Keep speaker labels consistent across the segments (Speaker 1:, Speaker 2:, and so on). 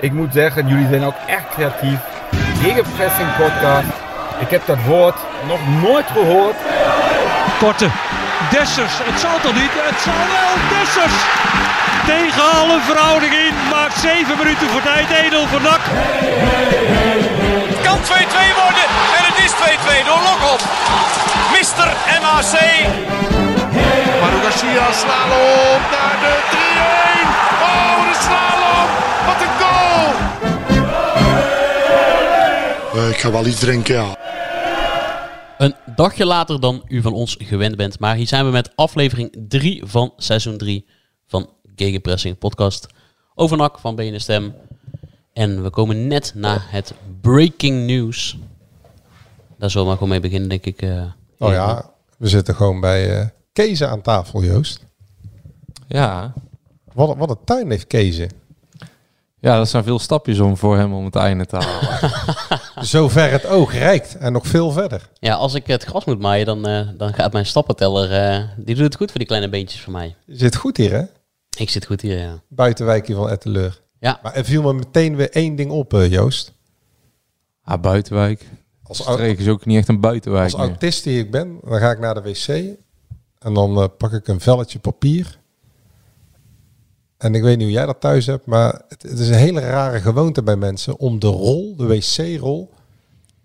Speaker 1: Ik moet zeggen, jullie zijn ook echt creatief. Gegenpressing podcast. Ik heb dat woord nog nooit gehoord.
Speaker 2: Korte. Dessers. Het zal toch niet? Het zal wel. Dessers. Tegen alle verhouding in. Maakt 7 minuten voor tijd. Edel voor Dak.
Speaker 3: Kan 2-2 worden. En het is 2-2 door Lokop. Mister MAC.
Speaker 4: Maru Garcia, slalom naar de 3-1. Oh, de slalom. Wat een goal.
Speaker 5: Eh, ik ga wel iets drinken, ja.
Speaker 6: Een dagje later dan u van ons gewend bent. Maar hier zijn we met aflevering 3 van seizoen 3 van Gegenpressing Podcast. Over NAC van BNS Stem. En we komen net na het breaking news. Daar zullen we maar gewoon mee beginnen, denk ik. eh.
Speaker 7: Nou ja, we zitten gewoon bij eh Kees aan tafel, Joost.
Speaker 8: Ja.
Speaker 7: Wat, een- wat een tuin heeft Kees.
Speaker 8: ja, dat zijn veel stapjes om voor hem om het einde te halen.
Speaker 7: Zover het oog reikt en nog veel verder.
Speaker 6: Ja, als ik het gras moet maaien, dan, eh, dan gaat mijn stappenteller... eh, die doet het goed voor die kleine beentjes van mij.
Speaker 7: Je zit goed hier, hè?
Speaker 6: Ik zit goed hier, ja.
Speaker 7: Buitenwijkje van Etteleur.
Speaker 6: Ja.
Speaker 7: Maar er viel me meteen weer één ding op, eh, Joost.
Speaker 8: ah, buitenwijk.
Speaker 7: Als, au-
Speaker 8: Streek is ook niet echt een buitenwijk
Speaker 7: als
Speaker 8: meer.
Speaker 7: autist die ik ben, dan ga ik naar de wc en dan eh, pak ik een velletje papier. En ik weet niet hoe jij dat thuis hebt, maar het, het is een hele rare gewoonte bij mensen om de rol, de wc-rol,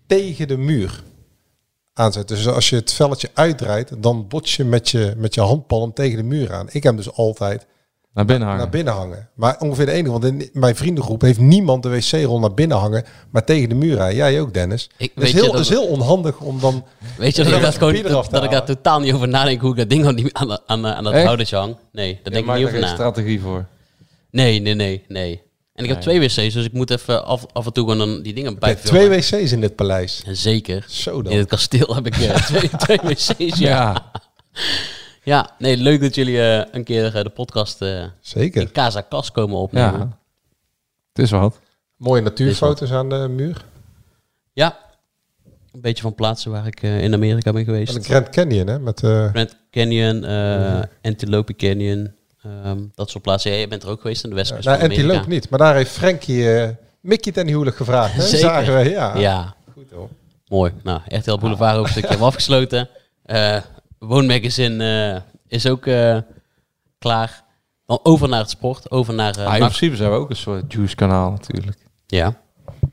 Speaker 7: tegen de muur aan te zetten. Dus als je het velletje uitdraait, dan bots je met je, met je handpalm tegen de muur aan. Ik heb hem dus altijd
Speaker 8: Naar binnen
Speaker 6: Ah.
Speaker 8: hangen.
Speaker 7: naar binnen hangen. Maar ongeveer de enige, want in mijn vriendengroep heeft niemand de wc-rol naar binnen hangen, maar tegen de muur aan. Jij ook, Dennis.
Speaker 6: Ik-
Speaker 7: Dat is,
Speaker 6: weet je
Speaker 7: heel,
Speaker 6: dat-
Speaker 7: dat is heel onhandig om dan
Speaker 6: Weet je, dat,
Speaker 7: Ja,
Speaker 6: ik,
Speaker 7: dat
Speaker 6: dat, gewoon,
Speaker 7: papier eraf
Speaker 6: dat,
Speaker 7: te
Speaker 6: dat ik daar
Speaker 7: halen.
Speaker 6: totaal niet over nadenk hoe ik dat ding al niet aan, aan, aan dat
Speaker 8: Echt?
Speaker 6: houdertje hang. Nee, daar denk ik niet over
Speaker 8: geen
Speaker 6: na.
Speaker 8: strategie voor.
Speaker 6: Nee, nee, nee, nee. En ik heb twee wc's, dus ik moet even af, af en toe gewoon dan die dingen
Speaker 7: Ja,
Speaker 6: bij.
Speaker 7: twee wc's in dit paleis.
Speaker 6: Zeker.
Speaker 7: Zo dan.
Speaker 6: In het kasteel heb ik eh, twee, twee wc's. Ja. ja.
Speaker 8: Ja,
Speaker 6: nee, leuk dat jullie eh, een keer eh, de podcast eh,
Speaker 7: Zeker.
Speaker 6: in Casa Cas komen opnemen. Ja.
Speaker 8: ja. Het is wat.
Speaker 7: Mooie natuurfoto's aan de muur.
Speaker 6: Een beetje van plaatsen waar ik eh, in Amerika ben
Speaker 7: En de
Speaker 6: geweest.
Speaker 7: Grand Canyon, hè? Met, eh,
Speaker 6: Grand Canyon, eh, Antelope Canyon, ehm, dat soort plaatsen. Ja, jij bent er ook geweest in de
Speaker 7: nou,
Speaker 6: westkust van Amerika.
Speaker 7: Antelope niet. Maar daar heeft Frankie eh Mickey ten huwelijk gevraagd. Hè?
Speaker 6: Zeker.
Speaker 7: Zagen we, ja.
Speaker 6: Ja,
Speaker 7: Ah, Goed, hoor.
Speaker 6: Mooi. Nou, echt heel boulevard ook een stukje hebben we afgesloten. Eh woonmagazine eh, is ook eh, klaar. Dan over naar het sport, over naar eh,
Speaker 8: Ah, in
Speaker 6: NAC.
Speaker 8: principe zijn we ook een soort juice kanaal natuurlijk.
Speaker 6: Ja.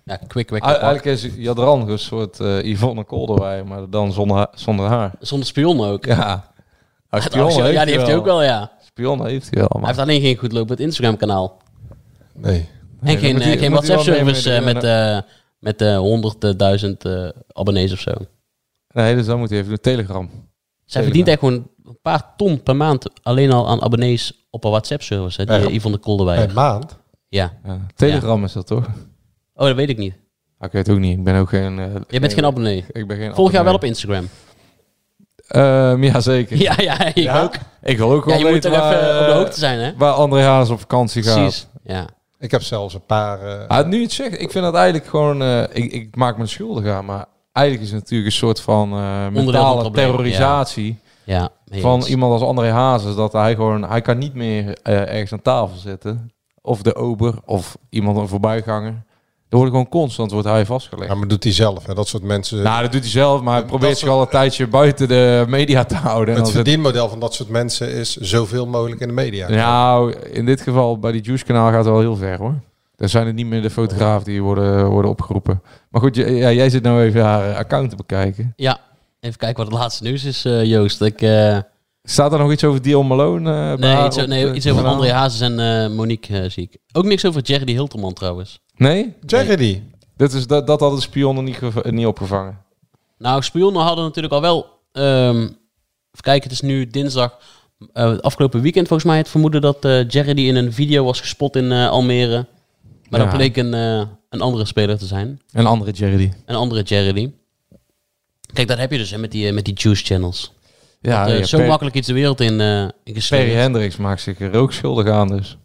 Speaker 6: Ja, quick
Speaker 8: E-
Speaker 6: weg.
Speaker 8: Eigenlijk is Jadran een soort eh, Yvonne Kolderwij, maar dan zonder, ha- zonder haar.
Speaker 6: Zonder spion ook.
Speaker 8: Ja. Ah,
Speaker 6: Ja,
Speaker 8: spion
Speaker 6: ja, die heeft hij ook wel, ja.
Speaker 8: Spion heeft hij wel,
Speaker 6: Hij
Speaker 8: maar
Speaker 6: heeft alleen geen goed lopend Instagram-kanaal.
Speaker 7: Nee.
Speaker 8: Nee,
Speaker 6: en
Speaker 8: dan
Speaker 6: geen,
Speaker 8: moet
Speaker 6: eh,
Speaker 8: hij-
Speaker 6: geen
Speaker 8: moet hij wel
Speaker 6: WhatsApp-service eh,
Speaker 8: mee- mee-
Speaker 6: met, eh met eh, 100.000 eh, abonnees of zo.
Speaker 8: nee, dus dan moet hij even een telegram.
Speaker 6: Zij verdient echt gewoon een paar ton per maand alleen al aan abonnees op een WhatsApp-service. hè, Die
Speaker 7: Ja.
Speaker 6: eh, Yvonne Kolderwij.
Speaker 7: Een maand.
Speaker 6: Ja.
Speaker 8: Ja, telegram is dat toch?
Speaker 6: Oh, dat weet ik niet.
Speaker 8: Ah, ik weet het ook niet. Ik ben ook geen. eh,
Speaker 6: Jij bent geen abonnee.
Speaker 8: Ik ben geen.
Speaker 6: Volg jou wel op
Speaker 8: abonnee.
Speaker 6: Instagram.
Speaker 8: Ehm, ja, zeker.
Speaker 6: Ja, ja, ik ook.
Speaker 8: Ik wil ook
Speaker 6: Ja,
Speaker 8: wel
Speaker 6: je moet
Speaker 8: weten
Speaker 6: toch even
Speaker 8: waar,
Speaker 6: op de
Speaker 8: eh,
Speaker 6: hoogte zijn, hè?
Speaker 8: Waar André Haas op vakantie gaat.
Speaker 6: Precies. Ja.
Speaker 7: Ik heb zelfs een paar... eh,
Speaker 8: Ah, nu het zegt, ik vind dat eigenlijk gewoon. eh, ik, ik maak me schuldig aan, maar eigenlijk is het natuurlijk een soort van eh,
Speaker 6: van het
Speaker 8: mentale
Speaker 6: probleem,
Speaker 8: terrorisatie
Speaker 6: Ja. mee
Speaker 8: van
Speaker 6: eens.
Speaker 8: iemand als André Hazes. Dat hij gewoon, hij kan niet meer eh, ergens aan tafel zitten. Of de ober, of iemand een voorbijganger. Er wordt gewoon constant wordt hij vastgelegd.
Speaker 7: ja, maar doet hij zelf. Hè? Dat soort mensen...
Speaker 8: nou, dat doet hij zelf, maar hij probeert
Speaker 7: Eh, dat
Speaker 8: zich al een tijdje buiten de media te houden. En
Speaker 7: het
Speaker 8: dan zit-
Speaker 7: verdienmodel van dat soort mensen is zoveel mogelijk in de media.
Speaker 8: Nou, in dit geval bij die Juice kanaal gaat het wel heel ver hoor. Dan zijn het niet meer de fotografen die worden, worden opgeroepen. Maar goed, j- ja, jij zit nou even haar account te bekijken.
Speaker 6: Ja. Even kijken wat het laatste nieuws is, eh, Joost. Ik, eh,
Speaker 8: Staat er nog iets over Dion Malone? eh, bij
Speaker 6: nee,
Speaker 8: haar
Speaker 6: iets,
Speaker 8: op
Speaker 6: nee,
Speaker 8: de-
Speaker 6: iets over
Speaker 8: kanaal?
Speaker 6: André Hazes en eh, Monique eh, zie ik. Ook niks over Jerry Hilterman trouwens.
Speaker 8: Nee?
Speaker 7: Charity.
Speaker 8: Dat, is, dat, dat hadden de spionnen niet, geva- niet opgevangen.
Speaker 6: Nou, spionnen hadden natuurlijk al wel... ehm, even kijken, het is nu dinsdag. eh, het afgelopen weekend volgens mij het vermoeden dat eh Jerry die in een video was gespot in eh, Almere. Maar dat
Speaker 8: Ja.
Speaker 6: bleek een, eh, een andere speler te zijn.
Speaker 8: Een andere Jerry.
Speaker 6: Een andere Jerry. Kijk, dat heb je dus hè, met die, eh, met die juice channels.
Speaker 8: Ja,
Speaker 7: Ah,
Speaker 6: Eh,
Speaker 8: ja,
Speaker 6: zo
Speaker 8: Per-
Speaker 6: makkelijk iets de wereld in, eh in geslingerd.
Speaker 8: Perry Hendricks maakt zich er ook schuldig aan dus.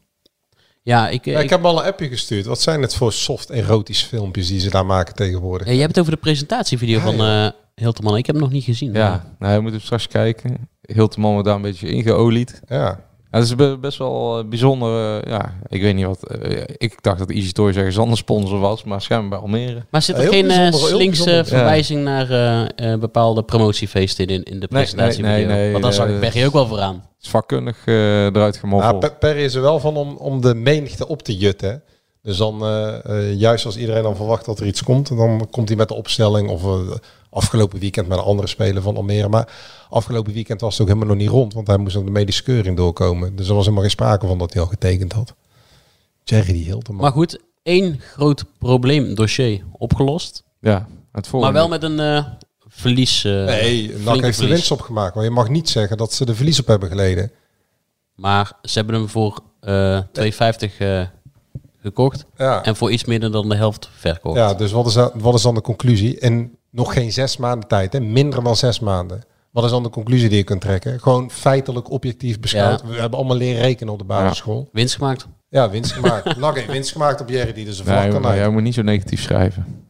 Speaker 6: Ja, ik, eh,
Speaker 7: Ja, ik
Speaker 6: ik-
Speaker 7: heb hem al een appje gestuurd. Wat zijn het voor soft erotische filmpjes die ze daar maken tegenwoordig?
Speaker 6: Ja, jij hebt het over de presentatievideo van eh Hilterman. Ik heb hem nog niet gezien.
Speaker 8: Ja, nou, je moet hem straks kijken. Hilterman wordt daar een beetje ingeolied.
Speaker 7: Ja.
Speaker 8: Ja, dat is be- best wel eh, bijzonder. eh, ja, ik weet niet wat. eh, ik dacht dat Easy Toys ergens anders sponsor was, maar schijnbaar Almere.
Speaker 6: Maar zit er
Speaker 7: Heel
Speaker 6: geen eh,
Speaker 7: bijzonder, heel
Speaker 6: slinkse
Speaker 7: bijzonder.
Speaker 6: verwijzing naar eh, eh, bepaalde promotiefeesten in, in de presentatie?
Speaker 8: nee, nee,
Speaker 6: Want dan
Speaker 8: eh,
Speaker 6: zag ik Berry ook wel vooraan.
Speaker 8: Het is vakkundig eh, eruit
Speaker 7: Maar
Speaker 8: gemoffeld.
Speaker 7: Per- Perry is er wel van om, om de menigte op te jutten. hè. Dus dan, eh, eh, juist als iedereen dan verwacht dat er iets komt, dan komt hij met de opstelling. Of eh, afgelopen weekend met een andere speler van Almere. Maar afgelopen weekend was het ook helemaal nog niet rond, want hij moest nog de medische keuring doorkomen. Dus er was helemaal geen sprake van dat hij al getekend had. Jerry die Hilton.
Speaker 6: Maar goed, één groot probleemdossier opgelost.
Speaker 8: ja, het volgende.
Speaker 6: Maar wel met een eh, verlies. eh,
Speaker 7: Oh,
Speaker 6: flink
Speaker 7: Nee, NAC heeft de
Speaker 6: verlies.
Speaker 7: winst opgemaakt. Maar je mag niet zeggen dat ze de verlies op hebben geleden.
Speaker 6: Maar ze hebben hem voor eh 2,50 eh, gekocht.
Speaker 7: Ja,
Speaker 6: En voor iets minder dan de helft verkocht.
Speaker 7: ja dus wat is, dan- wat is dan de conclusie? En nog geen zes maanden tijd, hè? minder dan zes maanden. Wat is dan de conclusie die je kunt trekken? Gewoon feitelijk, objectief beschouwd. We hebben allemaal leren rekenen op de basisschool.
Speaker 6: Winst gemaakt.
Speaker 7: Ja, winst gemaakt. NAC heeft winst gemaakt op Jerry die dus een vlak
Speaker 8: Nee,
Speaker 7: kan
Speaker 8: maar jij
Speaker 7: uit.
Speaker 8: moet niet zo negatief schrijven.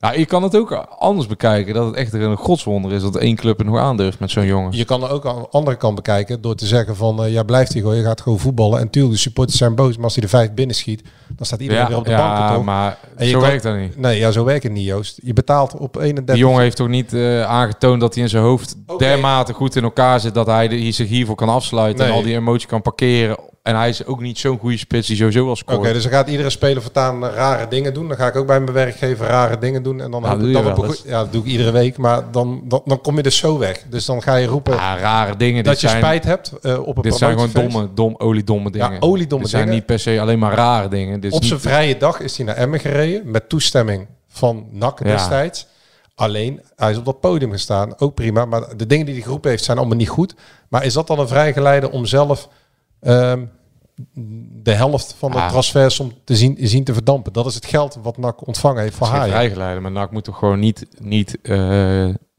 Speaker 8: Nou, je kan het ook anders bekijken. Dat het echt een godswonder is dat één club er nog aandurft met zo'n jongen.
Speaker 7: Je kan er ook aan de andere kant bekijken door te zeggen van... eh, ja, blijft hij gewoon, je gaat gewoon voetballen. En tuurlijk, de supporters zijn boos, maar als hij er vijf binnen schiet... dan staat iedereen weer op de
Speaker 8: ja,
Speaker 7: banken, toch?
Speaker 8: maar
Speaker 7: En je
Speaker 8: zo
Speaker 7: kan-
Speaker 8: werkt dat niet.
Speaker 7: Nee, ja, zo werkt het niet, Joost. Je betaalt op 31...
Speaker 8: Die jongen heeft toch niet eh, aangetoond dat hij in zijn hoofd
Speaker 7: Oké.
Speaker 8: dermate goed in elkaar zit dat hij de- hier zich hiervoor kan afsluiten en
Speaker 7: Nee.
Speaker 8: al die emotie kan parkeren. En hij is ook niet zo'n goede spits die sowieso wel
Speaker 7: Oké,
Speaker 8: scoort.
Speaker 7: dus dan gaat iedere speler voortaan eh, rare dingen doen. Dan ga ik ook bij mijn werkgever rare dingen doen. En dan
Speaker 8: Nou,
Speaker 7: hoop
Speaker 8: doe
Speaker 7: ik
Speaker 8: je
Speaker 7: dat op
Speaker 8: wel
Speaker 7: een
Speaker 8: eens.
Speaker 7: goed- Ja, dat doe ik iedere week. Maar dan, dan, dan kom je dus zo weg. Dus dan ga je roepen
Speaker 8: Ja, rare dingen.
Speaker 7: dat
Speaker 8: Ah, Dit
Speaker 7: je
Speaker 8: zijn-
Speaker 7: spijt hebt eh, op een
Speaker 8: Dit zijn gewoon
Speaker 7: promotiefeest.
Speaker 8: domme, dom, oliedomme dingen.
Speaker 7: Ja, oliedomme
Speaker 8: Dit zijn
Speaker 7: dingen.
Speaker 8: niet per se alleen maar rare dingen. Dit is
Speaker 7: Op zijn
Speaker 8: niet-
Speaker 7: vrije dag is hij naar Emmen gereden. Met toestemming van NAC
Speaker 8: Ja.
Speaker 7: destijds. Alleen, hij is op dat podium gestaan. Ook prima. Maar de dingen die hij geroepen heeft zijn allemaal niet goed. Maar is dat dan een vrijgeleide om zelf... ehm, de helft van de
Speaker 8: Ah.
Speaker 7: transfersom te zien, zien te verdampen. Dat is het geld wat NAC ontvangen heeft voor
Speaker 8: Het is geen
Speaker 7: haar.
Speaker 8: vrijgeleide, maar NAC moet toch gewoon niet, niet eh,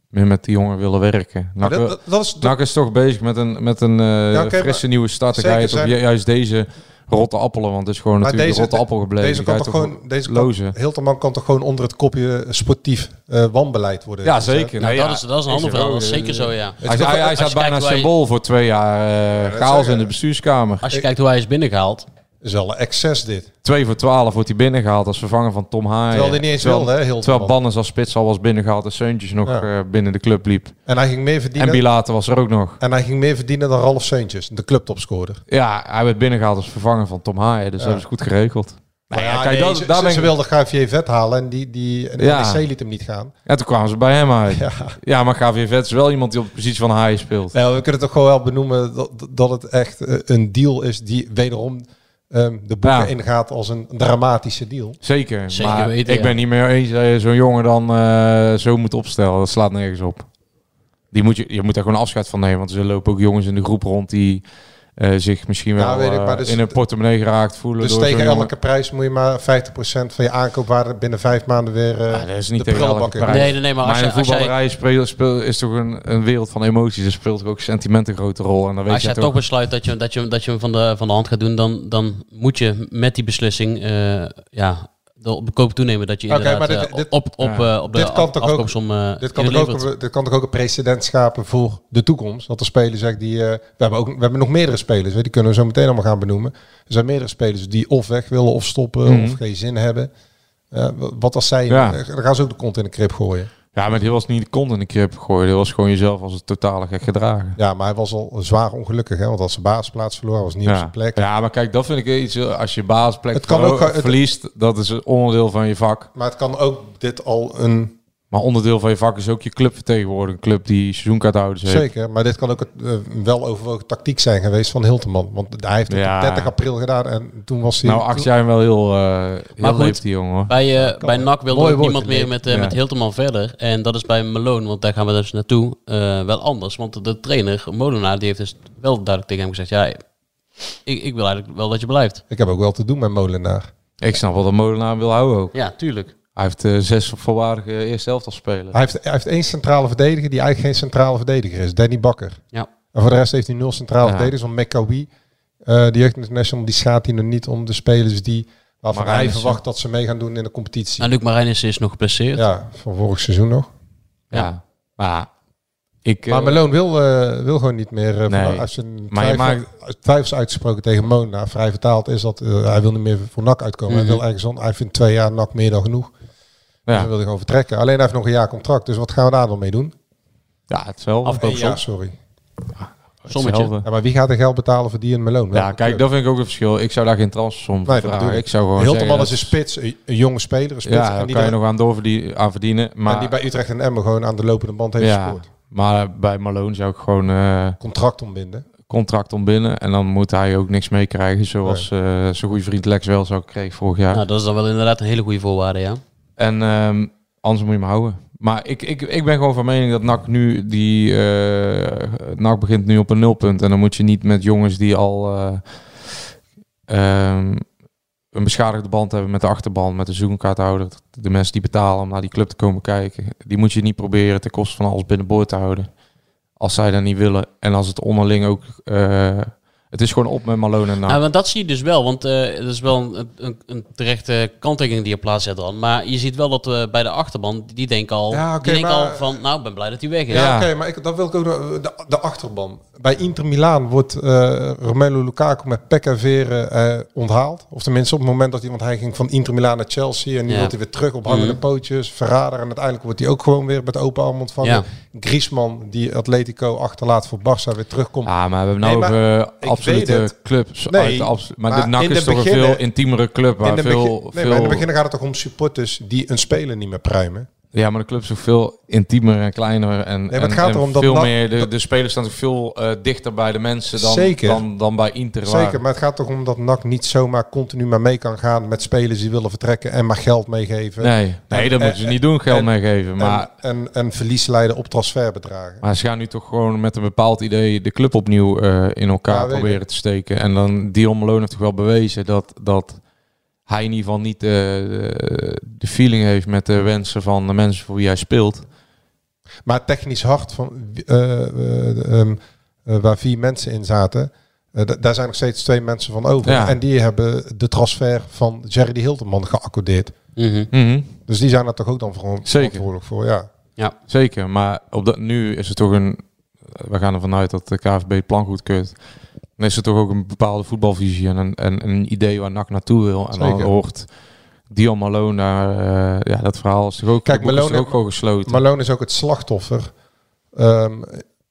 Speaker 8: meer met die jongen willen werken.
Speaker 7: Maar
Speaker 8: NAC,
Speaker 7: dat, dat, dat is
Speaker 8: NAC is toch bezig met een, met een eh,
Speaker 7: Ja, oké,
Speaker 8: frisse nieuwe start. Dan ga je
Speaker 7: zeker
Speaker 8: toch
Speaker 7: zijn-
Speaker 8: ju- juist deze rotte appelen, want het is gewoon
Speaker 7: Maar
Speaker 8: natuurlijk
Speaker 7: deze-
Speaker 8: de rotte appel gebleven.
Speaker 7: deze
Speaker 8: Die ga je
Speaker 7: kan toch gewoon, deze
Speaker 8: lozen.
Speaker 7: kan, Hilterman kan toch gewoon onder het kopje sportief eh, wanbeleid worden. eh,
Speaker 8: Ja,
Speaker 7: gezet?
Speaker 8: zeker.
Speaker 6: Nou,
Speaker 8: Nee,
Speaker 6: dat,
Speaker 8: ja,
Speaker 6: is, dat is een ander
Speaker 8: er
Speaker 6: verhaal.
Speaker 8: wel,
Speaker 6: Dat is
Speaker 8: eh,
Speaker 6: zeker zo, ja.
Speaker 8: Hij, hij, hij
Speaker 6: Als je
Speaker 8: staat bijna
Speaker 6: kijkt waar je-
Speaker 8: symbool voor twee jaar eh
Speaker 7: dat
Speaker 8: chaos
Speaker 7: zeggen.
Speaker 8: in de bestuurskamer.
Speaker 6: Als je kijkt hoe hij is binnengehaald.
Speaker 7: Dat is wel een excess dit.
Speaker 8: Twee voor twaalf wordt hij binnengehaald als vervanger van Tom Haaien.
Speaker 7: Terwijl hij niet eens wilde, hè, Hilterman.
Speaker 8: Terwijl Bannes als spits al was binnengehaald en Seuntjes nog
Speaker 7: Ja.
Speaker 8: eh, binnen de club liep.
Speaker 7: En hij ging meer verdienen.
Speaker 8: En
Speaker 7: En,
Speaker 8: Bilater was er ook nog.
Speaker 7: hij ging meer verdienen dan Ralf Seuntjes, de clubtopscorer.
Speaker 8: Ja, hij werd binnengehaald als vervanger van Tom Haaien. Dus dat is goed geregeld. Nou ja, kijk, dat-
Speaker 7: ze,
Speaker 8: daar
Speaker 7: ze-
Speaker 8: ben
Speaker 7: ze
Speaker 8: ik-
Speaker 7: wilden Gavier vet halen en die, die en de
Speaker 8: Ja.
Speaker 7: NEC liet hem niet gaan.
Speaker 8: En toen kwamen ze bij hem uit. Ja,
Speaker 7: Ja.
Speaker 8: maar Javier Vet is wel iemand die op de positie van Haaien speelt.
Speaker 7: Nou, we kunnen toch gewoon wel benoemen dat, dat het echt eh, een deal is die wederom ehm, de boeken
Speaker 8: Ja.
Speaker 7: ingaat als een dramatische deal.
Speaker 8: Zeker.
Speaker 6: Zeker
Speaker 8: maar
Speaker 6: weten,
Speaker 8: ik
Speaker 6: ja.
Speaker 8: ben niet meer eens dat je zo'n jongen dan eh, zo moet opstellen. Dat slaat nergens op. Die moet je, je moet daar gewoon afscheid van nemen. Want er lopen ook jongens in de groep rond die eh, zich misschien wel
Speaker 7: Ja, weet ik, maar
Speaker 8: eh,
Speaker 7: dus-
Speaker 8: in hun portemonnee geraakt voelen.
Speaker 7: Dus
Speaker 8: door zo'n
Speaker 7: tegen
Speaker 8: jongen.
Speaker 7: elke prijs moet je maar 50% van je aankoopwaarde binnen vijf maanden weer eh,
Speaker 8: Ja, Ah, dat is niet
Speaker 7: de
Speaker 8: tegen elke
Speaker 7: prullenbak in.
Speaker 8: prijs.
Speaker 6: Nee, nee, nee, maar als
Speaker 8: maar in
Speaker 6: jij-
Speaker 8: de
Speaker 6: als jij-
Speaker 8: voetballerij speel- speel- is toch een, een wereld van emoties. Er speelt toch ook sentiment een grote rol. En dan weet
Speaker 6: Als jij
Speaker 8: je
Speaker 6: toch besluit dat je, dat je, dat je hem van de, van de hand gaat doen, dan, dan moet je met die beslissing eh, ja, de koop toenemen dat je
Speaker 7: Oké,
Speaker 6: inderdaad
Speaker 7: maar dit-
Speaker 6: eh,
Speaker 7: dit-
Speaker 6: op, op,
Speaker 8: ja.
Speaker 6: eh, op de
Speaker 7: Dit kan
Speaker 6: af-
Speaker 7: toch ook-
Speaker 6: afkoopsom eh,
Speaker 7: Dit kan, toch
Speaker 6: inlevert.
Speaker 7: ook, dit kan toch ook een precedent schapen voor de toekomst. Dat de speler zegt die. eh, we, hebben ook, we hebben nog meerdere spelers, hè, die kunnen we zo meteen allemaal gaan benoemen. Er zijn meerdere spelers die of weg willen of stoppen
Speaker 8: Mhm.
Speaker 7: of geen zin hebben. Eh, wa- wat als zij.
Speaker 8: Ja.
Speaker 7: eh, Dan gaan ze ook de kont in de krip gooien.
Speaker 8: Ja, maar dit was niet de kont in de krip gooien. Dit was gewoon jezelf als het totale gek gedragen.
Speaker 7: Ja, maar hij was al zwaar ongelukkig, hè? Want als zijn basisplaats verloor, hij was niet op zijn plek.
Speaker 8: ja, maar kijk, dat vind ik iets... eh, Als je basisplek
Speaker 7: Het kan
Speaker 8: verlo-
Speaker 7: ook, eh, het-
Speaker 8: verliest, dat is een onderdeel van je vak.
Speaker 7: Maar het kan ook dit al een.
Speaker 8: Maar onderdeel van je vak is ook je club vertegenwoordigen. Een club die seizoenkaarthouders heeft.
Speaker 7: Zeker, maar dit kan ook een wel overwogen tactiek zijn geweest van Hilteman. Want hij heeft het
Speaker 8: Ja.
Speaker 7: op 30 april gedaan en toen was hij.
Speaker 8: Nou, acht jaar wel heel, eh heel
Speaker 6: Maar goed.
Speaker 8: leep, die jongen. hoor.
Speaker 6: Bij, eh, bij NAC wilde
Speaker 7: Mooi
Speaker 6: ook
Speaker 7: woord,
Speaker 6: niemand meer
Speaker 7: nee.
Speaker 6: met, eh,
Speaker 8: Ja.
Speaker 6: met Hilterman verder. En dat is bij Malone, want daar gaan we dus naartoe, eh, wel anders. Want de trainer, Molenaar, die heeft dus wel duidelijk tegen hem gezegd... Ja, ik, ik wil eigenlijk wel dat je blijft.
Speaker 7: Ik heb ook wel te doen met Molenaar.
Speaker 8: Ik snap wel dat Molenaar wil houden ook.
Speaker 6: Ja, tuurlijk.
Speaker 8: Hij heeft eh, zes volwaardige eerste helft spelen.
Speaker 7: Hij heeft, hij heeft één centrale verdediger die eigenlijk geen centrale verdediger is. Danny Bakker.
Speaker 6: Ja.
Speaker 7: En voor de rest heeft hij nul centrale
Speaker 8: Ja.
Speaker 7: verdedigers. Want McCawie, eh de Jeugd International, die schaadt hij nog niet om de spelers die, waarvan
Speaker 8: Marijnissen.
Speaker 7: hij verwacht dat ze mee gaan doen in de competitie.
Speaker 6: Nou, Luc Marijnissen is nog geblesseerd.
Speaker 7: Ja, van vorig seizoen nog.
Speaker 8: Ja. Maar Ik, eh,
Speaker 7: Maar Malone wil, eh, wil gewoon niet meer. eh,
Speaker 8: Nee.
Speaker 7: voor- als je een
Speaker 8: Maar je
Speaker 7: twijfel, twijfels uitgesproken tegen Mona, vrij vertaald is dat eh, hij wil niet meer voor NAC uitkomen.
Speaker 6: Mhm.
Speaker 7: Hij wil ergens on, hij vindt twee jaar NAC meer dan genoeg. Dus hij
Speaker 8: ja.
Speaker 7: wil gewoon vertrekken. Alleen hij heeft nog een jaar contract. Dus wat gaan we daar dan mee doen?
Speaker 8: ja, het is wel
Speaker 6: Afkoop.
Speaker 7: Ja, sorry.
Speaker 6: sommetje.
Speaker 8: hetzelfde.
Speaker 7: Ja, maar wie gaat er geld betalen voor die en Malone?
Speaker 8: Ja, kijk, dat vind ik ook een verschil. Ik zou daar geen transsom voor
Speaker 7: Nee, dat
Speaker 8: vragen.
Speaker 7: bedoel
Speaker 8: Ik zou gewoon
Speaker 7: Hilterman
Speaker 8: zeggen,
Speaker 7: is een spits, een, een jonge speler, een spits.
Speaker 8: Ja, daar
Speaker 7: en, die
Speaker 8: kan je
Speaker 7: dan-
Speaker 8: nog aan, doorverdien, aan verdienen. Maar,
Speaker 7: en die bij Utrecht en Emmen gewoon aan de lopende band heeft
Speaker 8: ja,
Speaker 7: gescoord.
Speaker 8: maar bij Malone zou ik gewoon eh,
Speaker 7: Contract ontbinden.
Speaker 8: contract ontbinden. En dan moet hij ook niks meekrijgen. Zoals eh, zijn goede vriend Lex wel zo kreeg vorig jaar.
Speaker 6: Nou, dat is dan wel inderdaad een hele goede voorwaarde, ja.
Speaker 7: Nou.
Speaker 8: En ehm, anders moet je me houden. Maar ik, ik, ik ben gewoon van mening dat NAC nu die eh NAC begint nu op een nulpunt. En dan moet je niet met jongens die al eh, ehm, een beschadigde band hebben met de achterban, met de seizoenkaarthouder, de mensen die betalen om naar die club te komen kijken, die moet je niet proberen ten koste van alles binnenboord te houden. Als zij dat niet willen. En als het onderling ook. eh, het is gewoon op met Malone en NAC.
Speaker 6: Nou, want dat zie je dus wel, want eh, dat is wel een, een, een terechte kanttekening die je plaatst dan. Maar je ziet wel dat eh, bij de achterban, die denken al,
Speaker 7: Ja, oké,
Speaker 6: die denken
Speaker 7: maar-
Speaker 6: al van, nou, ik ben blij dat hij weg is.
Speaker 7: Ja,
Speaker 8: Ja.
Speaker 7: oké, maar ik, dat wil ik ook nog- de, de achterban. Bij Inter Milaan wordt eh, Romelu Lukaku met pek en veren eh, onthaald. Of tenminste op het moment dat hij, want hij ging van Inter Milaan naar Chelsea en nu
Speaker 6: Ja.
Speaker 7: wordt hij weer terug op hangende
Speaker 6: Mhm.
Speaker 7: pootjes, verrader en uiteindelijk wordt hij ook gewoon weer met open arm ontvangen.
Speaker 6: Ja.
Speaker 7: Griezmann die Atletico achterlaat voor Barça weer terugkomt.
Speaker 8: Ja, maar we hebben nou
Speaker 7: Nee, maar
Speaker 8: over
Speaker 7: ik weet
Speaker 8: absolute
Speaker 7: het.
Speaker 8: clubs.
Speaker 7: Nee,
Speaker 8: uit de abs- maar,
Speaker 7: maar
Speaker 8: de NAC
Speaker 7: in
Speaker 8: is
Speaker 7: de
Speaker 8: toch een
Speaker 7: beginnen-
Speaker 8: veel intiemere club. Waar
Speaker 7: in de
Speaker 8: veel,
Speaker 7: begin- nee,
Speaker 8: veel,
Speaker 7: maar in het begin gaat het toch om supporters die een speler niet meer pruimen.
Speaker 8: ja, maar de club is ook veel intiemer en kleiner. En,
Speaker 7: maar het
Speaker 8: en-
Speaker 7: gaat
Speaker 8: en
Speaker 7: erom dat
Speaker 8: veel
Speaker 7: NAC-
Speaker 8: meer, de, de spelers staan toch veel eh, dichter bij de mensen dan,
Speaker 7: Zeker.
Speaker 8: dan, dan bij Inter. waar-
Speaker 7: Zeker, maar het gaat toch om dat NAC niet zomaar continu maar mee kan gaan met spelers die willen vertrekken en maar geld meegeven.
Speaker 8: nee, nee, dat
Speaker 7: en-
Speaker 8: moeten ze niet doen, geld
Speaker 7: en-
Speaker 8: meegeven. Maar,
Speaker 7: en, en, en verlies leiden op transferbedragen.
Speaker 8: maar ze gaan nu toch gewoon met een bepaald idee de club opnieuw eh, in
Speaker 7: Ja,
Speaker 8: elkaar
Speaker 7: weet
Speaker 8: proberen te steken. En dan Dion Malone heeft toch wel bewezen dat... dat hij in ieder geval niet eh, de- de feeling heeft met de wensen van de mensen voor wie hij speelt.
Speaker 7: Maar technisch hart, van, eh, eh, ehm, eh, waar vier mensen in zaten, eh, da- daar zijn nog steeds twee mensen van over.
Speaker 8: Ja.
Speaker 7: En die hebben de transfer van Jerry Hilterman geaccordeerd.
Speaker 6: Mhm.
Speaker 8: Mhm,
Speaker 7: Dus die zijn daar toch ook dan voor, verantwoordelijk voor. Ja.
Speaker 8: Zeker, maar op dat, nu is het toch een... We gaan ervan uit dat de KVB het plan goedkeurt. Dan is er toch ook een bepaalde voetbalvisie en een, en een idee waar NAC naartoe wil. En dan
Speaker 7: Zeker.
Speaker 8: hoort Dion Malone daar... eh, ja, dat verhaal is toch ook,
Speaker 7: Kijk,
Speaker 8: dat boek is
Speaker 7: Malone-
Speaker 8: toch ook gewoon gesloten.
Speaker 7: Malone is ook het slachtoffer ehm,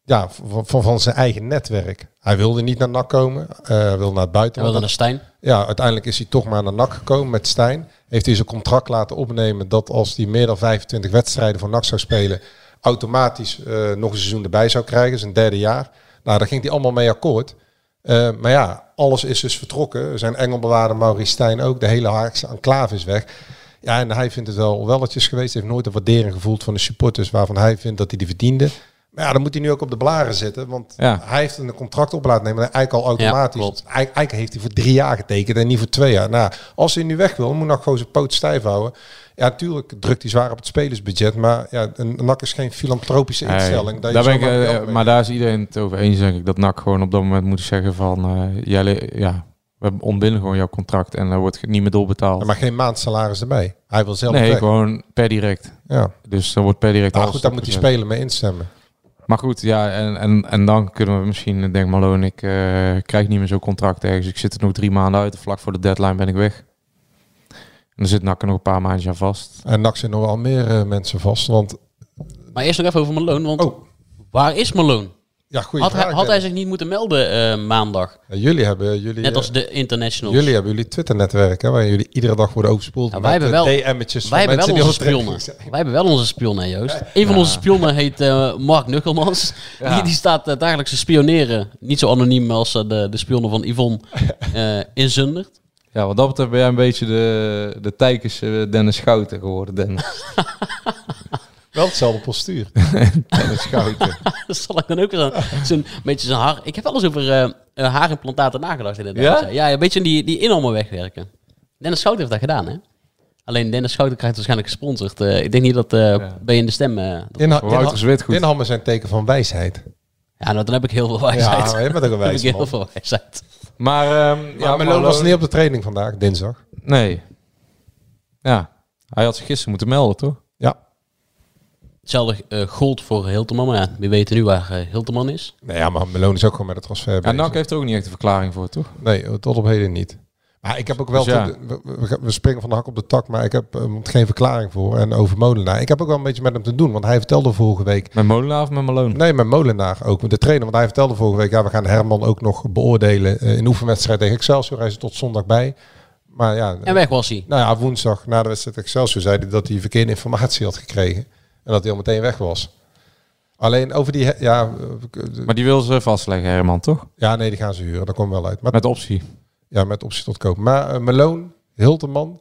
Speaker 7: ja, van, van, van zijn eigen netwerk. Hij wilde niet naar NAC komen, eh wilde naar het
Speaker 6: En wel
Speaker 7: buitenland.
Speaker 6: dan een Stijn.
Speaker 7: Ja, uiteindelijk is hij toch maar naar NAC gekomen met Stijn. Heeft hij zijn contract laten opnemen dat als hij meer dan 25 wedstrijden voor NAC zou spelen, automatisch eh, nog een seizoen erbij zou krijgen, zijn derde jaar. Nou, daar ging hij allemaal mee akkoord. Eh, maar ja, alles is dus vertrokken. Zijn engelbewaarder Maurice Stijn ook. De hele Haagse enclave is weg. Ja, en hij vindt het wel welletjes geweest. Heeft nooit de waardering gevoeld van de supporters waarvan hij vindt dat hij die verdiende. Maar ja, dan moet hij nu ook op de blaren zitten. Want
Speaker 8: Ja.
Speaker 7: hij heeft een contract op laten nemen. en Eigenlijk al automatisch.
Speaker 6: Ja, klopt.
Speaker 7: Eik- Eigenlijk heeft hij voor drie jaar getekend en niet voor twee jaar. Nou, als hij nu weg wil, moet NAC gewoon zijn poot stijf houden. Ja, natuurlijk drukt hij zwaar op het spelersbudget. Maar ja, een NAC is geen filantropische
Speaker 8: Nee,
Speaker 7: instelling. dat je
Speaker 8: daar ben ik,
Speaker 7: zomaar
Speaker 8: eh,
Speaker 7: geld mee-
Speaker 8: maar daar is iedereen het over eens, denk ik. Dat NAC gewoon op dat moment moet zeggen van... eh, jij le- ja, we ontbinden gewoon jouw contract en daar wordt niet meer doorbetaald.
Speaker 7: Ja, maar geen maandsalaris erbij. Hij wil zelf
Speaker 8: nee,
Speaker 7: weg.
Speaker 8: gewoon per direct.
Speaker 7: Ja.
Speaker 8: Dus dan wordt per direct
Speaker 7: Nou
Speaker 8: alles
Speaker 7: goed, daar moet die
Speaker 8: stopgezet.
Speaker 7: speler mee instemmen.
Speaker 8: Maar goed, ja, en, en, en dan kunnen we misschien, eh, denk Malone, ik eh, krijg niet meer zo'n contract ergens. Ik zit er nog drie maanden uit, vlak voor de deadline ben ik weg. En dan zit Nakker nog een paar maandjes aan vast.
Speaker 7: En NAC zit nog wel meer eh, mensen vast. Want,
Speaker 6: Maar eerst nog even over Malone, want
Speaker 7: oh,
Speaker 6: waar is Malone?
Speaker 7: ja, goeie
Speaker 6: Had hij,
Speaker 7: vraag,
Speaker 6: had hij
Speaker 7: Dennis.
Speaker 6: zich niet moeten melden eh, maandag?
Speaker 7: Ja, jullie hebben jullie,
Speaker 6: Net
Speaker 7: eh,
Speaker 6: als de internationals.
Speaker 7: jullie hebben jullie Twitter-netwerk, hè, waar jullie iedere dag worden overspoeld.
Speaker 6: Ja,
Speaker 7: met
Speaker 6: wij hebben
Speaker 7: eh,
Speaker 6: wel-
Speaker 7: DM'tjes
Speaker 6: Wij
Speaker 7: van
Speaker 6: hebben, wel
Speaker 7: mensen die
Speaker 6: onze
Speaker 7: ons direct-
Speaker 6: spionnen. Wij hebben wel onze spionnen, Joost. Een van
Speaker 8: Ja.
Speaker 6: onze spionnen heet eh, Mark Nukkelmans.
Speaker 8: Ja.
Speaker 6: Die, die staat eh, dagelijks te spioneren. Niet zo anoniem als eh, de, de spionnen van Yvonne eh, in Zundert.
Speaker 8: Ja, wat dat betreft ben jij een beetje de, de tijkers eh, Dennis Schouten geworden, Dennis.
Speaker 7: Wel hetzelfde postuur.
Speaker 8: Dennis Schouten.
Speaker 6: Dat zal ik dan ook zo'n zo'n beetje zijn haar... Ik heb wel eens over eh, eh, haarimplantaten nagedacht inderdaad.
Speaker 8: Ja?
Speaker 6: Ja, ja een beetje die, die inhammen wegwerken. Dennis Schouten heeft dat gedaan, hè? Alleen Dennis Schouten krijgt waarschijnlijk gesponsord. Eh, ik denk niet dat eh
Speaker 8: Ja.
Speaker 6: B in de stem... eh, dat-
Speaker 7: Inha
Speaker 8: Wouter Zwitgoed.
Speaker 7: Inhammen zijn teken van wijsheid.
Speaker 6: ja, nou, dan heb ik heel veel
Speaker 7: Ja,
Speaker 6: wijsheid.
Speaker 7: maar je bent ook een
Speaker 6: heb ik
Speaker 7: wijs
Speaker 6: heel
Speaker 7: man.
Speaker 6: veel wijsheid.
Speaker 8: Maar, ehm, ja,
Speaker 7: Ja, Malone was niet op de training vandaag, dinsdag.
Speaker 8: Nee. Ja, hij had zich gisteren moeten melden, toch?
Speaker 7: Ja.
Speaker 6: Hetzelfde eh, gold voor Hilterman. Maar ja, we weten nu waar eh, Hilterman is.
Speaker 7: Nou ja, maar Meloen is ook gewoon met de transfer
Speaker 8: Ja, nou,
Speaker 7: bezig.
Speaker 8: NAC heeft er ook niet echt een verklaring voor, toch?
Speaker 7: Nee, tot op heden niet. Maar ik heb ook wel...
Speaker 8: Dus ja.
Speaker 7: te- we- we, we springen van de hak op de tak, maar ik heb eh, geen verklaring voor. En over Molenaar. Ik heb ook wel een beetje met hem te doen. Want hij vertelde vorige week...
Speaker 8: Met Molenaar of met Malone?
Speaker 7: Nee, met Molenaar ook. met De trainer. Want hij vertelde vorige week... Ja, we gaan Herman ook nog beoordelen eh, in oefenwedstrijd tegen Excelsior. Hij is er tot zondag bij. Maar ja...
Speaker 6: En weg was hij.
Speaker 7: Nou ja, woensdag na de wedstrijd Excelsior zei hij dat hij verkeerde informatie had gekregen. En dat hij al meteen weg was. Alleen over die... he- Ja, eh,
Speaker 8: Maar die wil ze vastleggen, Herman, toch?
Speaker 7: ja nee, die gaan ze huren. Dat komt wel uit. Maar
Speaker 8: Met optie.
Speaker 7: ja, met optie tot koop. Maar eh, Meloon, Hilterman,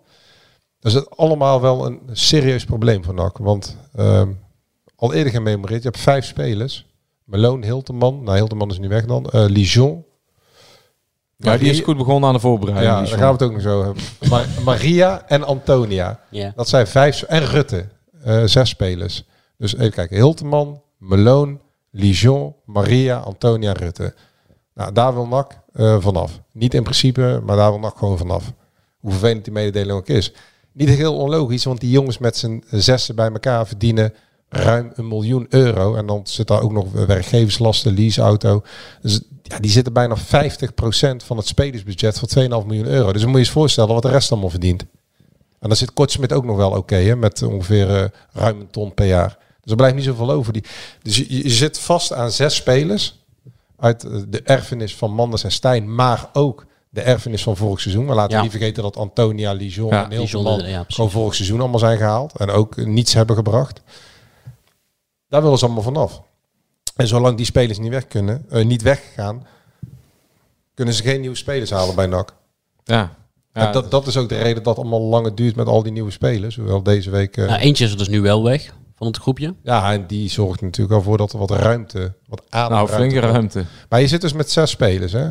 Speaker 7: dat is het allemaal wel een serieus probleem voor NAC. Want ehm, al eerder gememoreerd, je hebt vijf spelers. Meloon, Hilterman, nou Hilterman is nu weg dan, eh Lijon.
Speaker 8: Ja, die is goed begonnen aan de voorbereiding.
Speaker 7: Ja,
Speaker 8: die
Speaker 7: daar
Speaker 8: John.
Speaker 7: gaan we het ook nog zo hebben. Ma- Maria en Antonia,
Speaker 6: Ja.
Speaker 7: dat zijn vijf, en Rutte, eh, zes spelers. Dus even kijken, Hilterman, Meloon, Lijon, Maria, Antonia, Rutte. Nou, daar wil NAC eh, vanaf. Niet in principe, maar daar wil NAC gewoon vanaf. Hoe vervelend die mededeling ook is. Niet heel onlogisch, want die jongens met z'n zessen bij elkaar verdienen ruim een miljoen euro. En dan zit daar ook nog werkgeverslasten, leaseauto. Dus ja, die zitten bijna 50% van het spelersbudget van 2,5 miljoen euro. Dus dan moet je eens voorstellen wat de rest allemaal verdient. En dan zit Kortsmit ook nog wel oké, hè, met ongeveer eh, ruim een ton per jaar. Dus er blijft niet zoveel over. Die. Dus je, je zit vast aan zes spelers uit eh, de erfenis van Manders en Stijn, maar ook de erfenis van vorig seizoen. Maar laten
Speaker 6: Ja.
Speaker 7: we niet vergeten dat Antonia, Lijon
Speaker 8: Ja,
Speaker 7: en
Speaker 6: Lijon, eh,
Speaker 7: Hilterman
Speaker 6: ja, precies.
Speaker 7: gewoon vorig seizoen allemaal zijn gehaald. En ook eh, niets hebben gebracht. Daar willen ze allemaal vanaf. En zolang die spelers niet weg kunnen, eh, niet weggaan, kunnen ze geen nieuwe spelers halen bij NAC.
Speaker 8: Ja.
Speaker 7: en dat, dat is ook de reden dat het allemaal langer duurt met al die nieuwe spelers. Hoewel deze week... eh,
Speaker 6: Nou, eentje is er dus nu wel weg van het groepje.
Speaker 7: ja, en die zorgt natuurlijk al voor dat er wat ruimte, wat
Speaker 8: nou,
Speaker 7: ademruimte...
Speaker 8: flinke ruimte.
Speaker 7: Maar je zit dus met zes spelers, hè?